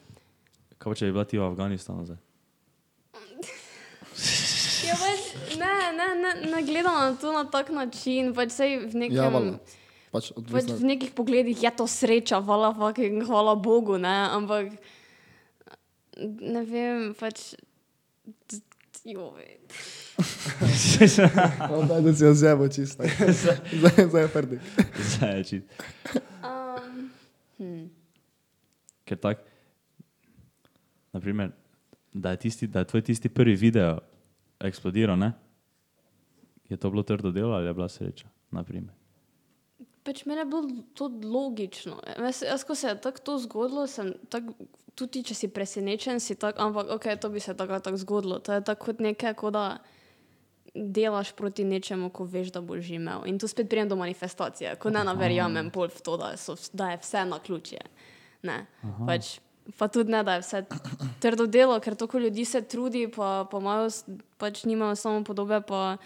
[SPEAKER 2] Kaj pa, če bi bila ti v Afganistanu zdaj?
[SPEAKER 1] Ja, pač, ne, ne, ne, ne gledam na to na tak način, pač sej v nekem...
[SPEAKER 3] Ja, valjda. Pač
[SPEAKER 1] Pač
[SPEAKER 3] odvisno.
[SPEAKER 1] v nekih pogledih je to sreča, hvala, fucking, hvala Bogu, ne? ampak ne vem, pač. Joj.
[SPEAKER 3] No, daj, da si jo zebo čisto. Zdaj zdaj je prdi.
[SPEAKER 2] Zdaj je čist.
[SPEAKER 1] Um, hm.
[SPEAKER 2] Ker tak, naprimer, da je, tisti, da je tvoj tisti prvi video eksplodiral, ne? je to bilo trdo delo ali je bila sreča? Naprimer.
[SPEAKER 1] Pač meni je bilo to logično. Jaz, jaz ko se je tako to zgodilo, sem tako, tudi če si presenečen, si tako, ampak ok, to bi se tako ali tako zgodilo. To je tako kot nekaj, kot da delaš proti nečemu, ko veš, da boš že imel. In tu spet pridem do manifestacije, ko ne verjamem bolj v to, da, so, vs- da je vse na ključje. Ne, Pač, pa tudi ne, da je vse trdo delo, ker toliko ljudi se trudi, pa, pa imajo, s- pač nimajo samo podobe. Pa,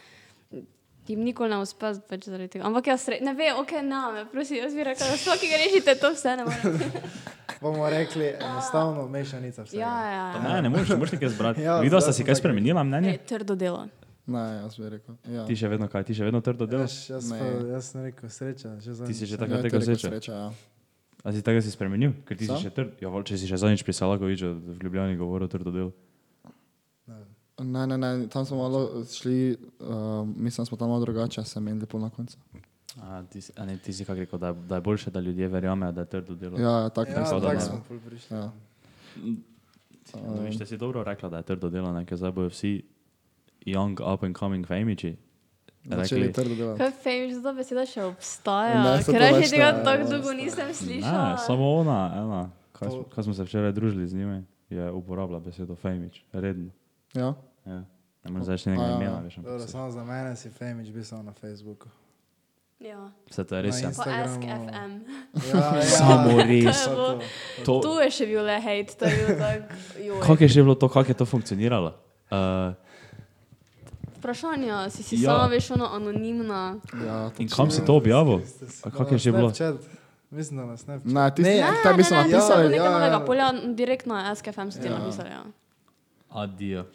[SPEAKER 1] Jim nikoli ne uspe, pač zaradi tega. Ampak jaz re, ne vem, ok, na me, prosim, jaz bi rekel, da vsakiga rešite to vse, ne morem.
[SPEAKER 5] Bomo rekli enostavno mešanica vsega.
[SPEAKER 1] Ja, ja,
[SPEAKER 2] Pa
[SPEAKER 1] ja.
[SPEAKER 2] Ne, ne moreš, ne moreš nekaj zbrati. ja,
[SPEAKER 5] Ja,
[SPEAKER 2] Videla sta
[SPEAKER 5] zdaj
[SPEAKER 2] si
[SPEAKER 5] sem
[SPEAKER 2] kaj
[SPEAKER 5] tako-
[SPEAKER 2] spremenila
[SPEAKER 1] Ej,
[SPEAKER 2] mnenje?
[SPEAKER 1] trdo delo.
[SPEAKER 3] Ne, jaz bi rekel. Ja.
[SPEAKER 2] Ti še vedno kaj, ti še vedno trdo delaš?
[SPEAKER 5] Veš, jaz,
[SPEAKER 3] Ne.
[SPEAKER 5] pa, jaz sem rekel sreča, že za
[SPEAKER 2] Ti si že
[SPEAKER 3] Ja,
[SPEAKER 2] tako
[SPEAKER 3] to je
[SPEAKER 2] tega
[SPEAKER 3] rekel
[SPEAKER 2] sreča.
[SPEAKER 3] sreča, ja.
[SPEAKER 2] A si tega si spremenil? Ker ti
[SPEAKER 3] Sam?
[SPEAKER 2] si še trd. Ja, vol, če si še zadnjič pri Salakoviču v Ljubljani govoril trdo delo.
[SPEAKER 3] Ne, ne, ne, tam smo malo šli, uh, mislim, da smo tam malo drugače, sem imel lepo na koncu.
[SPEAKER 2] A, ti, si- a ne, ti si kako rekel, da, da je boljše, da ljudje verjamejo, da je trdo delo.
[SPEAKER 3] Ja, ja, tako
[SPEAKER 5] Ja,
[SPEAKER 3] nekako,
[SPEAKER 2] da,
[SPEAKER 5] tako
[SPEAKER 3] ja.
[SPEAKER 5] smo pol prišli.
[SPEAKER 3] Ja.
[SPEAKER 2] No, viš, te si dobro rekla, da je trdo delo, ne, ker zdaj bojo vsi young up and coming famiči.
[SPEAKER 3] Začeli
[SPEAKER 2] Rekli,
[SPEAKER 3] trdo delati.
[SPEAKER 1] Kaj femiš, da beseda še obstaja?
[SPEAKER 3] Ne, se
[SPEAKER 1] Ker
[SPEAKER 3] to
[SPEAKER 1] reči
[SPEAKER 3] več
[SPEAKER 1] tega
[SPEAKER 3] ne,
[SPEAKER 1] tako
[SPEAKER 5] ne
[SPEAKER 1] dolgo
[SPEAKER 5] obstaja.
[SPEAKER 1] nisem
[SPEAKER 2] ne,
[SPEAKER 1] slišala.
[SPEAKER 2] samo ona, ena, kaj,
[SPEAKER 5] To-
[SPEAKER 2] smo- kaj smo se včeraj družili z njimi, je uporabila besedo famič, redno.
[SPEAKER 3] Ja.
[SPEAKER 2] Ja. Ne moreš zdaj še nekaj
[SPEAKER 3] Ja, ja,
[SPEAKER 2] imena,
[SPEAKER 3] ja.
[SPEAKER 2] veš. ampak
[SPEAKER 5] Dobro,
[SPEAKER 2] se-
[SPEAKER 5] samo za mene si Femič bil samo na Facebooku.
[SPEAKER 1] Ja.
[SPEAKER 2] Vse to je res.
[SPEAKER 5] Na
[SPEAKER 2] ja.
[SPEAKER 1] Pa
[SPEAKER 5] Instagramu.
[SPEAKER 1] Ask FM.
[SPEAKER 5] Ja, ja.
[SPEAKER 2] Samo res.
[SPEAKER 5] To je to.
[SPEAKER 2] To,
[SPEAKER 1] Tu je še bil le hate, to je bil tak. joj.
[SPEAKER 2] Kako je že bilo to, kako je to funkcioniralo? Uh,
[SPEAKER 1] Vprašanja, si si
[SPEAKER 2] Ja.
[SPEAKER 1] sama veš, ono anonimna.
[SPEAKER 3] Ja,
[SPEAKER 2] in
[SPEAKER 3] točno.
[SPEAKER 2] kam si to objavil? A
[SPEAKER 5] Na
[SPEAKER 2] kako je že bilo?
[SPEAKER 5] Snapchat. Mislim, da na Snapchat.
[SPEAKER 3] Ne, ti
[SPEAKER 5] Ne,
[SPEAKER 3] si,
[SPEAKER 5] Ja,
[SPEAKER 1] Ne,
[SPEAKER 3] tam bi
[SPEAKER 1] ne,
[SPEAKER 3] se
[SPEAKER 1] ne,
[SPEAKER 5] napisali,
[SPEAKER 1] nisem
[SPEAKER 3] napisal.
[SPEAKER 5] ja,
[SPEAKER 1] nekaj
[SPEAKER 5] ja.
[SPEAKER 1] novega polja, direktno na Ask FM ste
[SPEAKER 3] Ja.
[SPEAKER 1] napisali. Ja.
[SPEAKER 2] Adijo.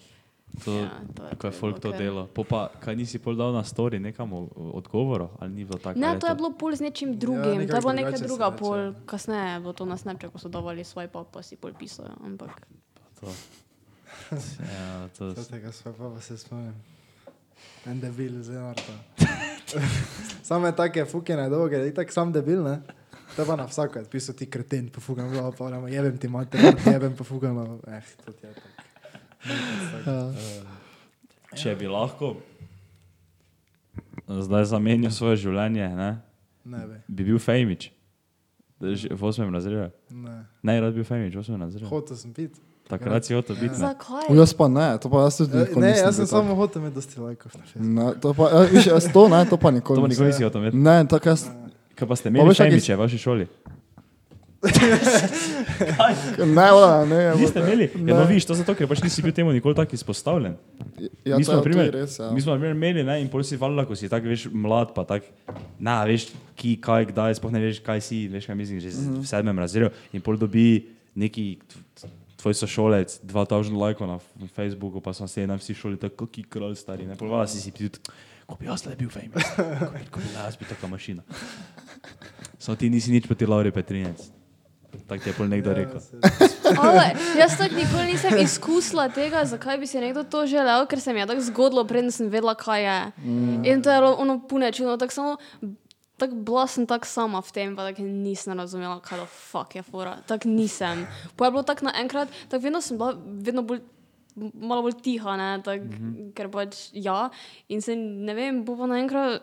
[SPEAKER 2] To, ja, Ko je folk to delo. Po pa, kaj nisi pol dal na story, nekam o- o- odgovorov, ali ni bilo tako? ali
[SPEAKER 1] Ne,
[SPEAKER 2] je
[SPEAKER 1] to je bilo pol z nečim drugim, ja, to
[SPEAKER 5] nekako
[SPEAKER 1] je bila neka
[SPEAKER 5] drugače se
[SPEAKER 1] druga
[SPEAKER 5] reče,
[SPEAKER 1] pol,
[SPEAKER 5] ja.
[SPEAKER 1] kasneje je bilo to na Snapchatu, ko so davali svoj pa, pa si pol pisali. Ampak
[SPEAKER 2] to. Ja, to
[SPEAKER 5] Vse tega svojega pa se spomnim. En debil, zelo arta. Samo je take fukine dolge, da je tako sam debil, ne? To je pa na vsako, je pisal ti kreten, pofugam glavo, pa ramo, jebem ti mater, jebem pofugam glavo. Eh, to ti je tako.
[SPEAKER 2] Če bi lahko zdaj zamenjal svoje življenje, ne,
[SPEAKER 5] Ne bi,
[SPEAKER 2] bi bil Fejmič. Že V osmem razredu.
[SPEAKER 5] ne.
[SPEAKER 2] Najrad bi bil Fejmič, v osmem razredu.
[SPEAKER 5] Hotel sem pit.
[SPEAKER 2] Takrat si hotel biti. ne.
[SPEAKER 1] zakaj?
[SPEAKER 3] Jaz pa ne, to pa jaz tudi nikoli
[SPEAKER 5] Eh, Ne,
[SPEAKER 3] nisem
[SPEAKER 5] jaz sem
[SPEAKER 3] bil tak.
[SPEAKER 5] samo hotel imeti dosti lajkov na Facebooku.
[SPEAKER 3] Ne, to pa, ja, viš, jaz to ne, to pa nikoli.
[SPEAKER 2] To pa
[SPEAKER 3] nisem.
[SPEAKER 2] nikoli nisi hotel imeti.
[SPEAKER 3] Ne, tako jaz,
[SPEAKER 2] Kaj pa ste
[SPEAKER 3] Pa
[SPEAKER 2] imeli
[SPEAKER 3] veš, kak je-
[SPEAKER 2] Fejmiče v vaši šoli?
[SPEAKER 3] ne, ola, ne, je bilo-
[SPEAKER 2] Niste imeli?
[SPEAKER 3] ne.
[SPEAKER 2] Ja, no, viš, to zato, ker pač nisi bil temu nikoli tako izpostavljen.
[SPEAKER 3] Ja,
[SPEAKER 2] mi
[SPEAKER 3] to
[SPEAKER 2] smo,
[SPEAKER 3] je-
[SPEAKER 2] na
[SPEAKER 3] to je
[SPEAKER 2] primer,
[SPEAKER 3] res, ja.
[SPEAKER 2] Mi smo na primer imeli, ne, in pol si valjda, ko si tako, veš, mlad, pa tako, na, veš, ki, kaj, kdaj, sploh ne veš, kaj si, veš, kaj mislim, že z- v sedmem razredu, in pol dobi neki tv- tv- tvoj sošolec, 2000 lajkov na f- Facebooku, pa smo se na vsi šoli tako, ki kralj stari, ne, polvala si si ti tudi, ko bi jaz le bil famous, ko bi- ko bi bila jaz bil taka mašina. Samo ti nisi nič proti Lauri Petrinec. Tako ti je pol
[SPEAKER 5] Ja,
[SPEAKER 2] nekdo rekel.
[SPEAKER 1] Ale, jaz tako nikoli nisem izkusila tega, zakaj bi si nekdo to želel, ker se mi je tako zgodilo, preden sem vedela, kaj je. Mm. In to je bilo ono pune čudno, tako samo. Tako bila sem tako sama v tem, pa tako nisem razumela, kaj do fuck je fora. Tako nisem. Pa je bilo tako naenkrat, tako vedno sem bila vedno bolj, malo bolj tiha, ne, tak, mm -hmm. ker pač ja. In se ne vem, bo pa naenkrat,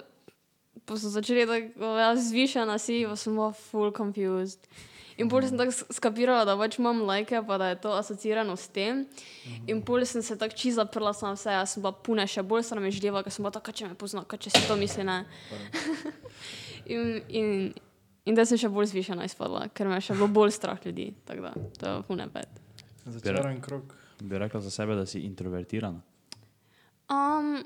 [SPEAKER 1] pa so začeli tako ja, zvišena si, pa sem bila full confused. In bolj sem tako s- skapirala, da pač imam lajke, pa da je to asociirano s tem. In bolj sem se tako čisto zaprla sama v sebe, jaz sem bila pune, še bolj sem namežljiva, ker sem bila taka, če me pozna, kaj če si to misli ne. in, in, in da sem še bolj zvišena izpadla, ker me je še bilo bolj strah ljudi. Tako da, to je pune pet.
[SPEAKER 5] Začaran krok.
[SPEAKER 2] Bi rekla za sebe, da si introvertirana.
[SPEAKER 1] Um,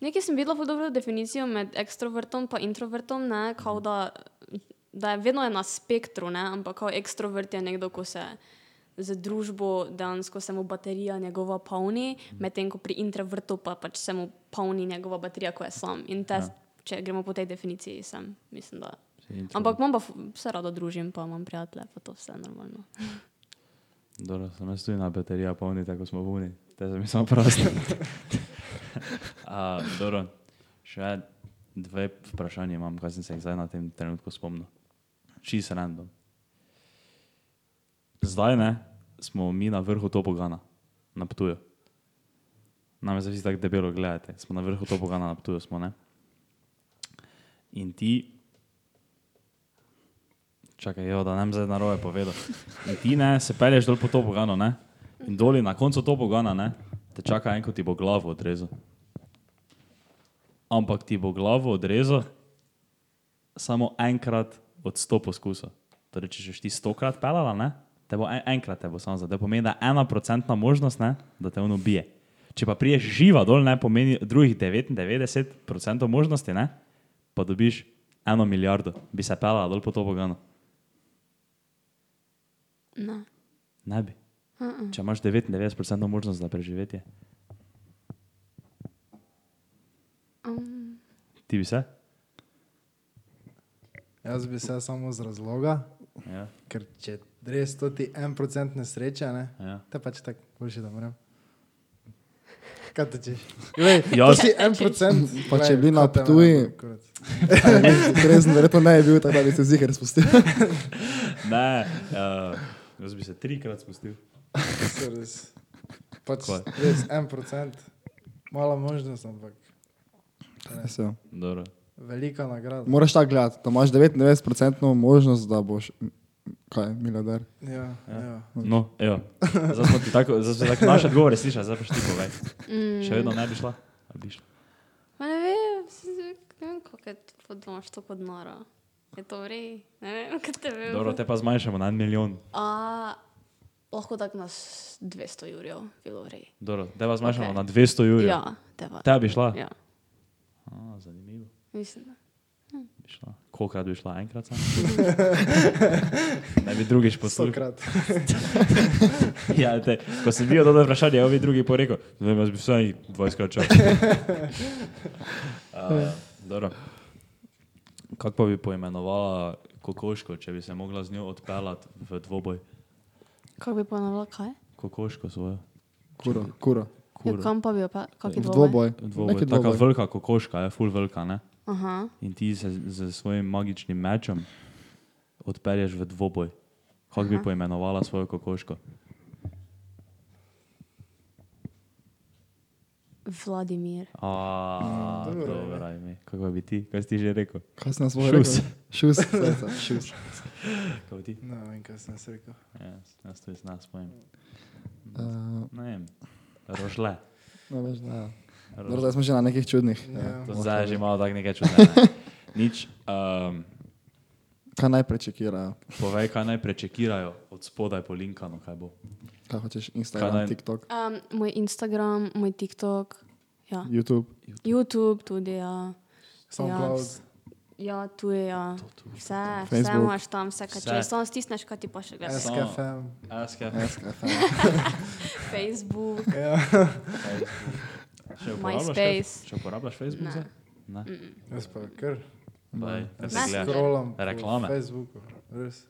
[SPEAKER 1] nekaj sem videla zelo dobro definicijo med ekstrovertom in introvertom, ne, kao da, da je vedno je na spektru, ne, ampak kao ekstrovert je nekdo, ko se z družbo dejansko se mu baterija njegova polni,
[SPEAKER 2] Mhm.
[SPEAKER 1] medtem ko pri introvertu pa pač se mu polni njegova baterija, ko je sam. In te, ja. če gremo po tej definiciji, sem, mislim, da.
[SPEAKER 2] Si introvert.
[SPEAKER 1] Ampak imam pa fu- se rada družim, pa imam prijatelje, pa to vse normalno.
[SPEAKER 2] Dobro, sem jaz tudi na baterija polni, tako smo vuni, te sem jih samo prosti. A, dobro, še dve vprašanje imam, kaj sem se jih zdaj na tem trenutku spomnil. Čist random. Zdaj ne, smo mi na vrhu topogana, na Ptuju. Nam je vsi tako debelo gledate, smo na vrhu topogana, na Ptuju smo, ne? In ti, čakaj, jo, da nam zdaj narobe povedal. In ti ne, se pelješ dol po topoganu, ne? In doli na koncu topogana, ne? Te čaka en, ko ti bo glavo odrezal. Ampak ti bo glavo odrezal samo enkrat od sto poskusov. Torej, če si ti stokrat pelala, ne? Te bo en, enkrat te bo samo zadel. Pomeni, da je ena procentna možnost, ne? Da te on ubije. Če pa priješ živa dol, ne pomeni drugih 99% možnosti, ne? Pa dobiš eno milijardo, bi se pelala dol po topoganu.
[SPEAKER 1] Ne.
[SPEAKER 2] Ne bi. Če imaš 99% možnost za preživetje,
[SPEAKER 1] Um,
[SPEAKER 2] ti bi se?
[SPEAKER 5] Jaz bi se samo z razloga,
[SPEAKER 2] Ja,
[SPEAKER 5] ker če res to ti en procent nesreče, ne,
[SPEAKER 2] ja.
[SPEAKER 5] te pač tako boljše, da moram. Kaj te češ? Glej,
[SPEAKER 2] Jaz-
[SPEAKER 5] to si en procent.
[SPEAKER 3] Pa če
[SPEAKER 5] glej,
[SPEAKER 3] bi na
[SPEAKER 5] kaj te
[SPEAKER 3] Ptuji-
[SPEAKER 5] moram, kurat.
[SPEAKER 3] Res, verjetno ne je bil, tako da bi se zihar spustil.
[SPEAKER 2] Ne, uh, jaz bi se trikrat spustil.
[SPEAKER 5] Saj res. Pač
[SPEAKER 2] Kaj?
[SPEAKER 5] res en procent. Mala možnost, ampak
[SPEAKER 3] Res, ja.
[SPEAKER 2] Dobro.
[SPEAKER 5] velika nagrada.
[SPEAKER 3] Moraš tako gledati, da imaš 99% možnost, da boš, kaj, milijarder.
[SPEAKER 5] Ja, ja.
[SPEAKER 2] No, evo. Zdaj smo ti tako, zdaj smo tako naše odgovore slišali, zdaj pa še ti povej.
[SPEAKER 1] mm.
[SPEAKER 2] Še vedno ne bi šla? Ali bi šla?
[SPEAKER 1] Ma ne vem, s- ne vem kako je to, da imaš to kot noro. Je to vrej, ne vem, kaj te vem.
[SPEAKER 2] Dobro, te pa zmanjšamo na en milijon.
[SPEAKER 1] A, lahko tako nas 200 jurjev, bilo vrej.
[SPEAKER 2] Dobro, te pa zmanjšamo
[SPEAKER 1] Ok.
[SPEAKER 2] okay. na 200 ur.
[SPEAKER 1] Ja, teba.
[SPEAKER 2] Te bi šla?
[SPEAKER 1] Ja,
[SPEAKER 2] A, zanimivo.
[SPEAKER 1] mislim. da.
[SPEAKER 2] Bi bi šla. Kolikrat bi šla? Enkrat samo? da bi drugič poslušal.
[SPEAKER 5] Stokrat.
[SPEAKER 2] Ja, te, ko sem bil dodatno vprašanje, ovi drugi pa rekel, ne vem, jaz bi vsaj 20 krat čakal. Uh, dobro. Kako pa bi poimenovala kokoško, če bi se mogla z njo odpeljati v dvoboj?
[SPEAKER 1] Kako bi ponovila kaj?
[SPEAKER 2] Kokoško svojo.
[SPEAKER 3] Kuro, kuro.
[SPEAKER 1] Ja,
[SPEAKER 2] Kuro.
[SPEAKER 1] kam pa bi jo pa, kak je
[SPEAKER 3] V
[SPEAKER 1] dvoboj?
[SPEAKER 3] dvoboj.
[SPEAKER 2] Dvoboj.
[SPEAKER 3] Neki
[SPEAKER 2] Taka
[SPEAKER 3] dvoboj.
[SPEAKER 2] velika kokoška, je full velika, ne?
[SPEAKER 1] Aha.
[SPEAKER 2] In ti se z z svojim magičnim mečem odpelješ v dvoboj. Kako bi
[SPEAKER 1] Aha.
[SPEAKER 2] poimenovala svojo kokoško?
[SPEAKER 1] Vladimir.
[SPEAKER 2] A,
[SPEAKER 5] Mm, dobro,
[SPEAKER 2] dobro, ime. Kako bi ti, kaj si ti že rekel?
[SPEAKER 3] Kaj sem svoj
[SPEAKER 2] Šus.
[SPEAKER 3] rekel? Šus. saj sem, Šus.
[SPEAKER 2] Kako bi ti?
[SPEAKER 5] Ne vem, kaj sem se rekel.
[SPEAKER 2] Jaz, jaz to iz nas spomnim.
[SPEAKER 3] Uh,
[SPEAKER 2] Ne vem, rožle.
[SPEAKER 3] ne veš, da, ja.
[SPEAKER 2] Rožle.
[SPEAKER 3] Dobro, zdaj smo že na nekih čudnih.
[SPEAKER 5] Ja.
[SPEAKER 3] ja.
[SPEAKER 2] To zdaj je že malo tako nekaj čudnega. ne. Nič, um,
[SPEAKER 3] Kaj najprej čekirajo?
[SPEAKER 2] povej, kaj naj prečekirajo od spodaj po Linkanu, kaj bo.
[SPEAKER 3] Kaj hočeš? Instagram,
[SPEAKER 2] naj-
[SPEAKER 3] TikTok,
[SPEAKER 1] Um, moj Instagram, moj TikTok, ja.
[SPEAKER 3] YouTube.
[SPEAKER 1] YouTube tudi, ja.
[SPEAKER 5] SoundCloud.
[SPEAKER 1] Ja, tu je, ja. Vse, vse
[SPEAKER 3] Facebook.
[SPEAKER 1] imaš tam, vse, kaj
[SPEAKER 2] Vse.
[SPEAKER 1] če samo stisneš, kaj ti pa še gledaš.
[SPEAKER 2] Samo-
[SPEAKER 5] SKFM.
[SPEAKER 2] Aske,
[SPEAKER 3] Ja,
[SPEAKER 1] Facebook,
[SPEAKER 5] Ja.
[SPEAKER 2] še uporabljaš
[SPEAKER 1] MySpace.
[SPEAKER 2] Face- Še uporabljaš Facebook? zdaj? Ne.
[SPEAKER 5] Jaz pa kar.
[SPEAKER 2] Baj, ne se
[SPEAKER 1] Messenger.
[SPEAKER 2] gleda.
[SPEAKER 5] Scrollam. po
[SPEAKER 2] Reklame.
[SPEAKER 5] Facebooku. Res.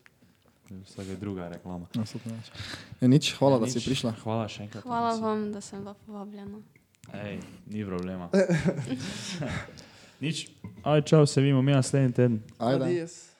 [SPEAKER 2] Vsaka druga reklama.
[SPEAKER 3] Ja, No, nič, hvala, da si
[SPEAKER 2] Nič,
[SPEAKER 3] prišla.
[SPEAKER 2] Hvala še enkrat.
[SPEAKER 1] Hvala
[SPEAKER 2] da si-
[SPEAKER 1] vam, da sem bila povabljena.
[SPEAKER 2] Ej, ni problema. Nič. Aj, čau, se vidimo mi naslednji teden.
[SPEAKER 3] Ajde.
[SPEAKER 5] Adijes.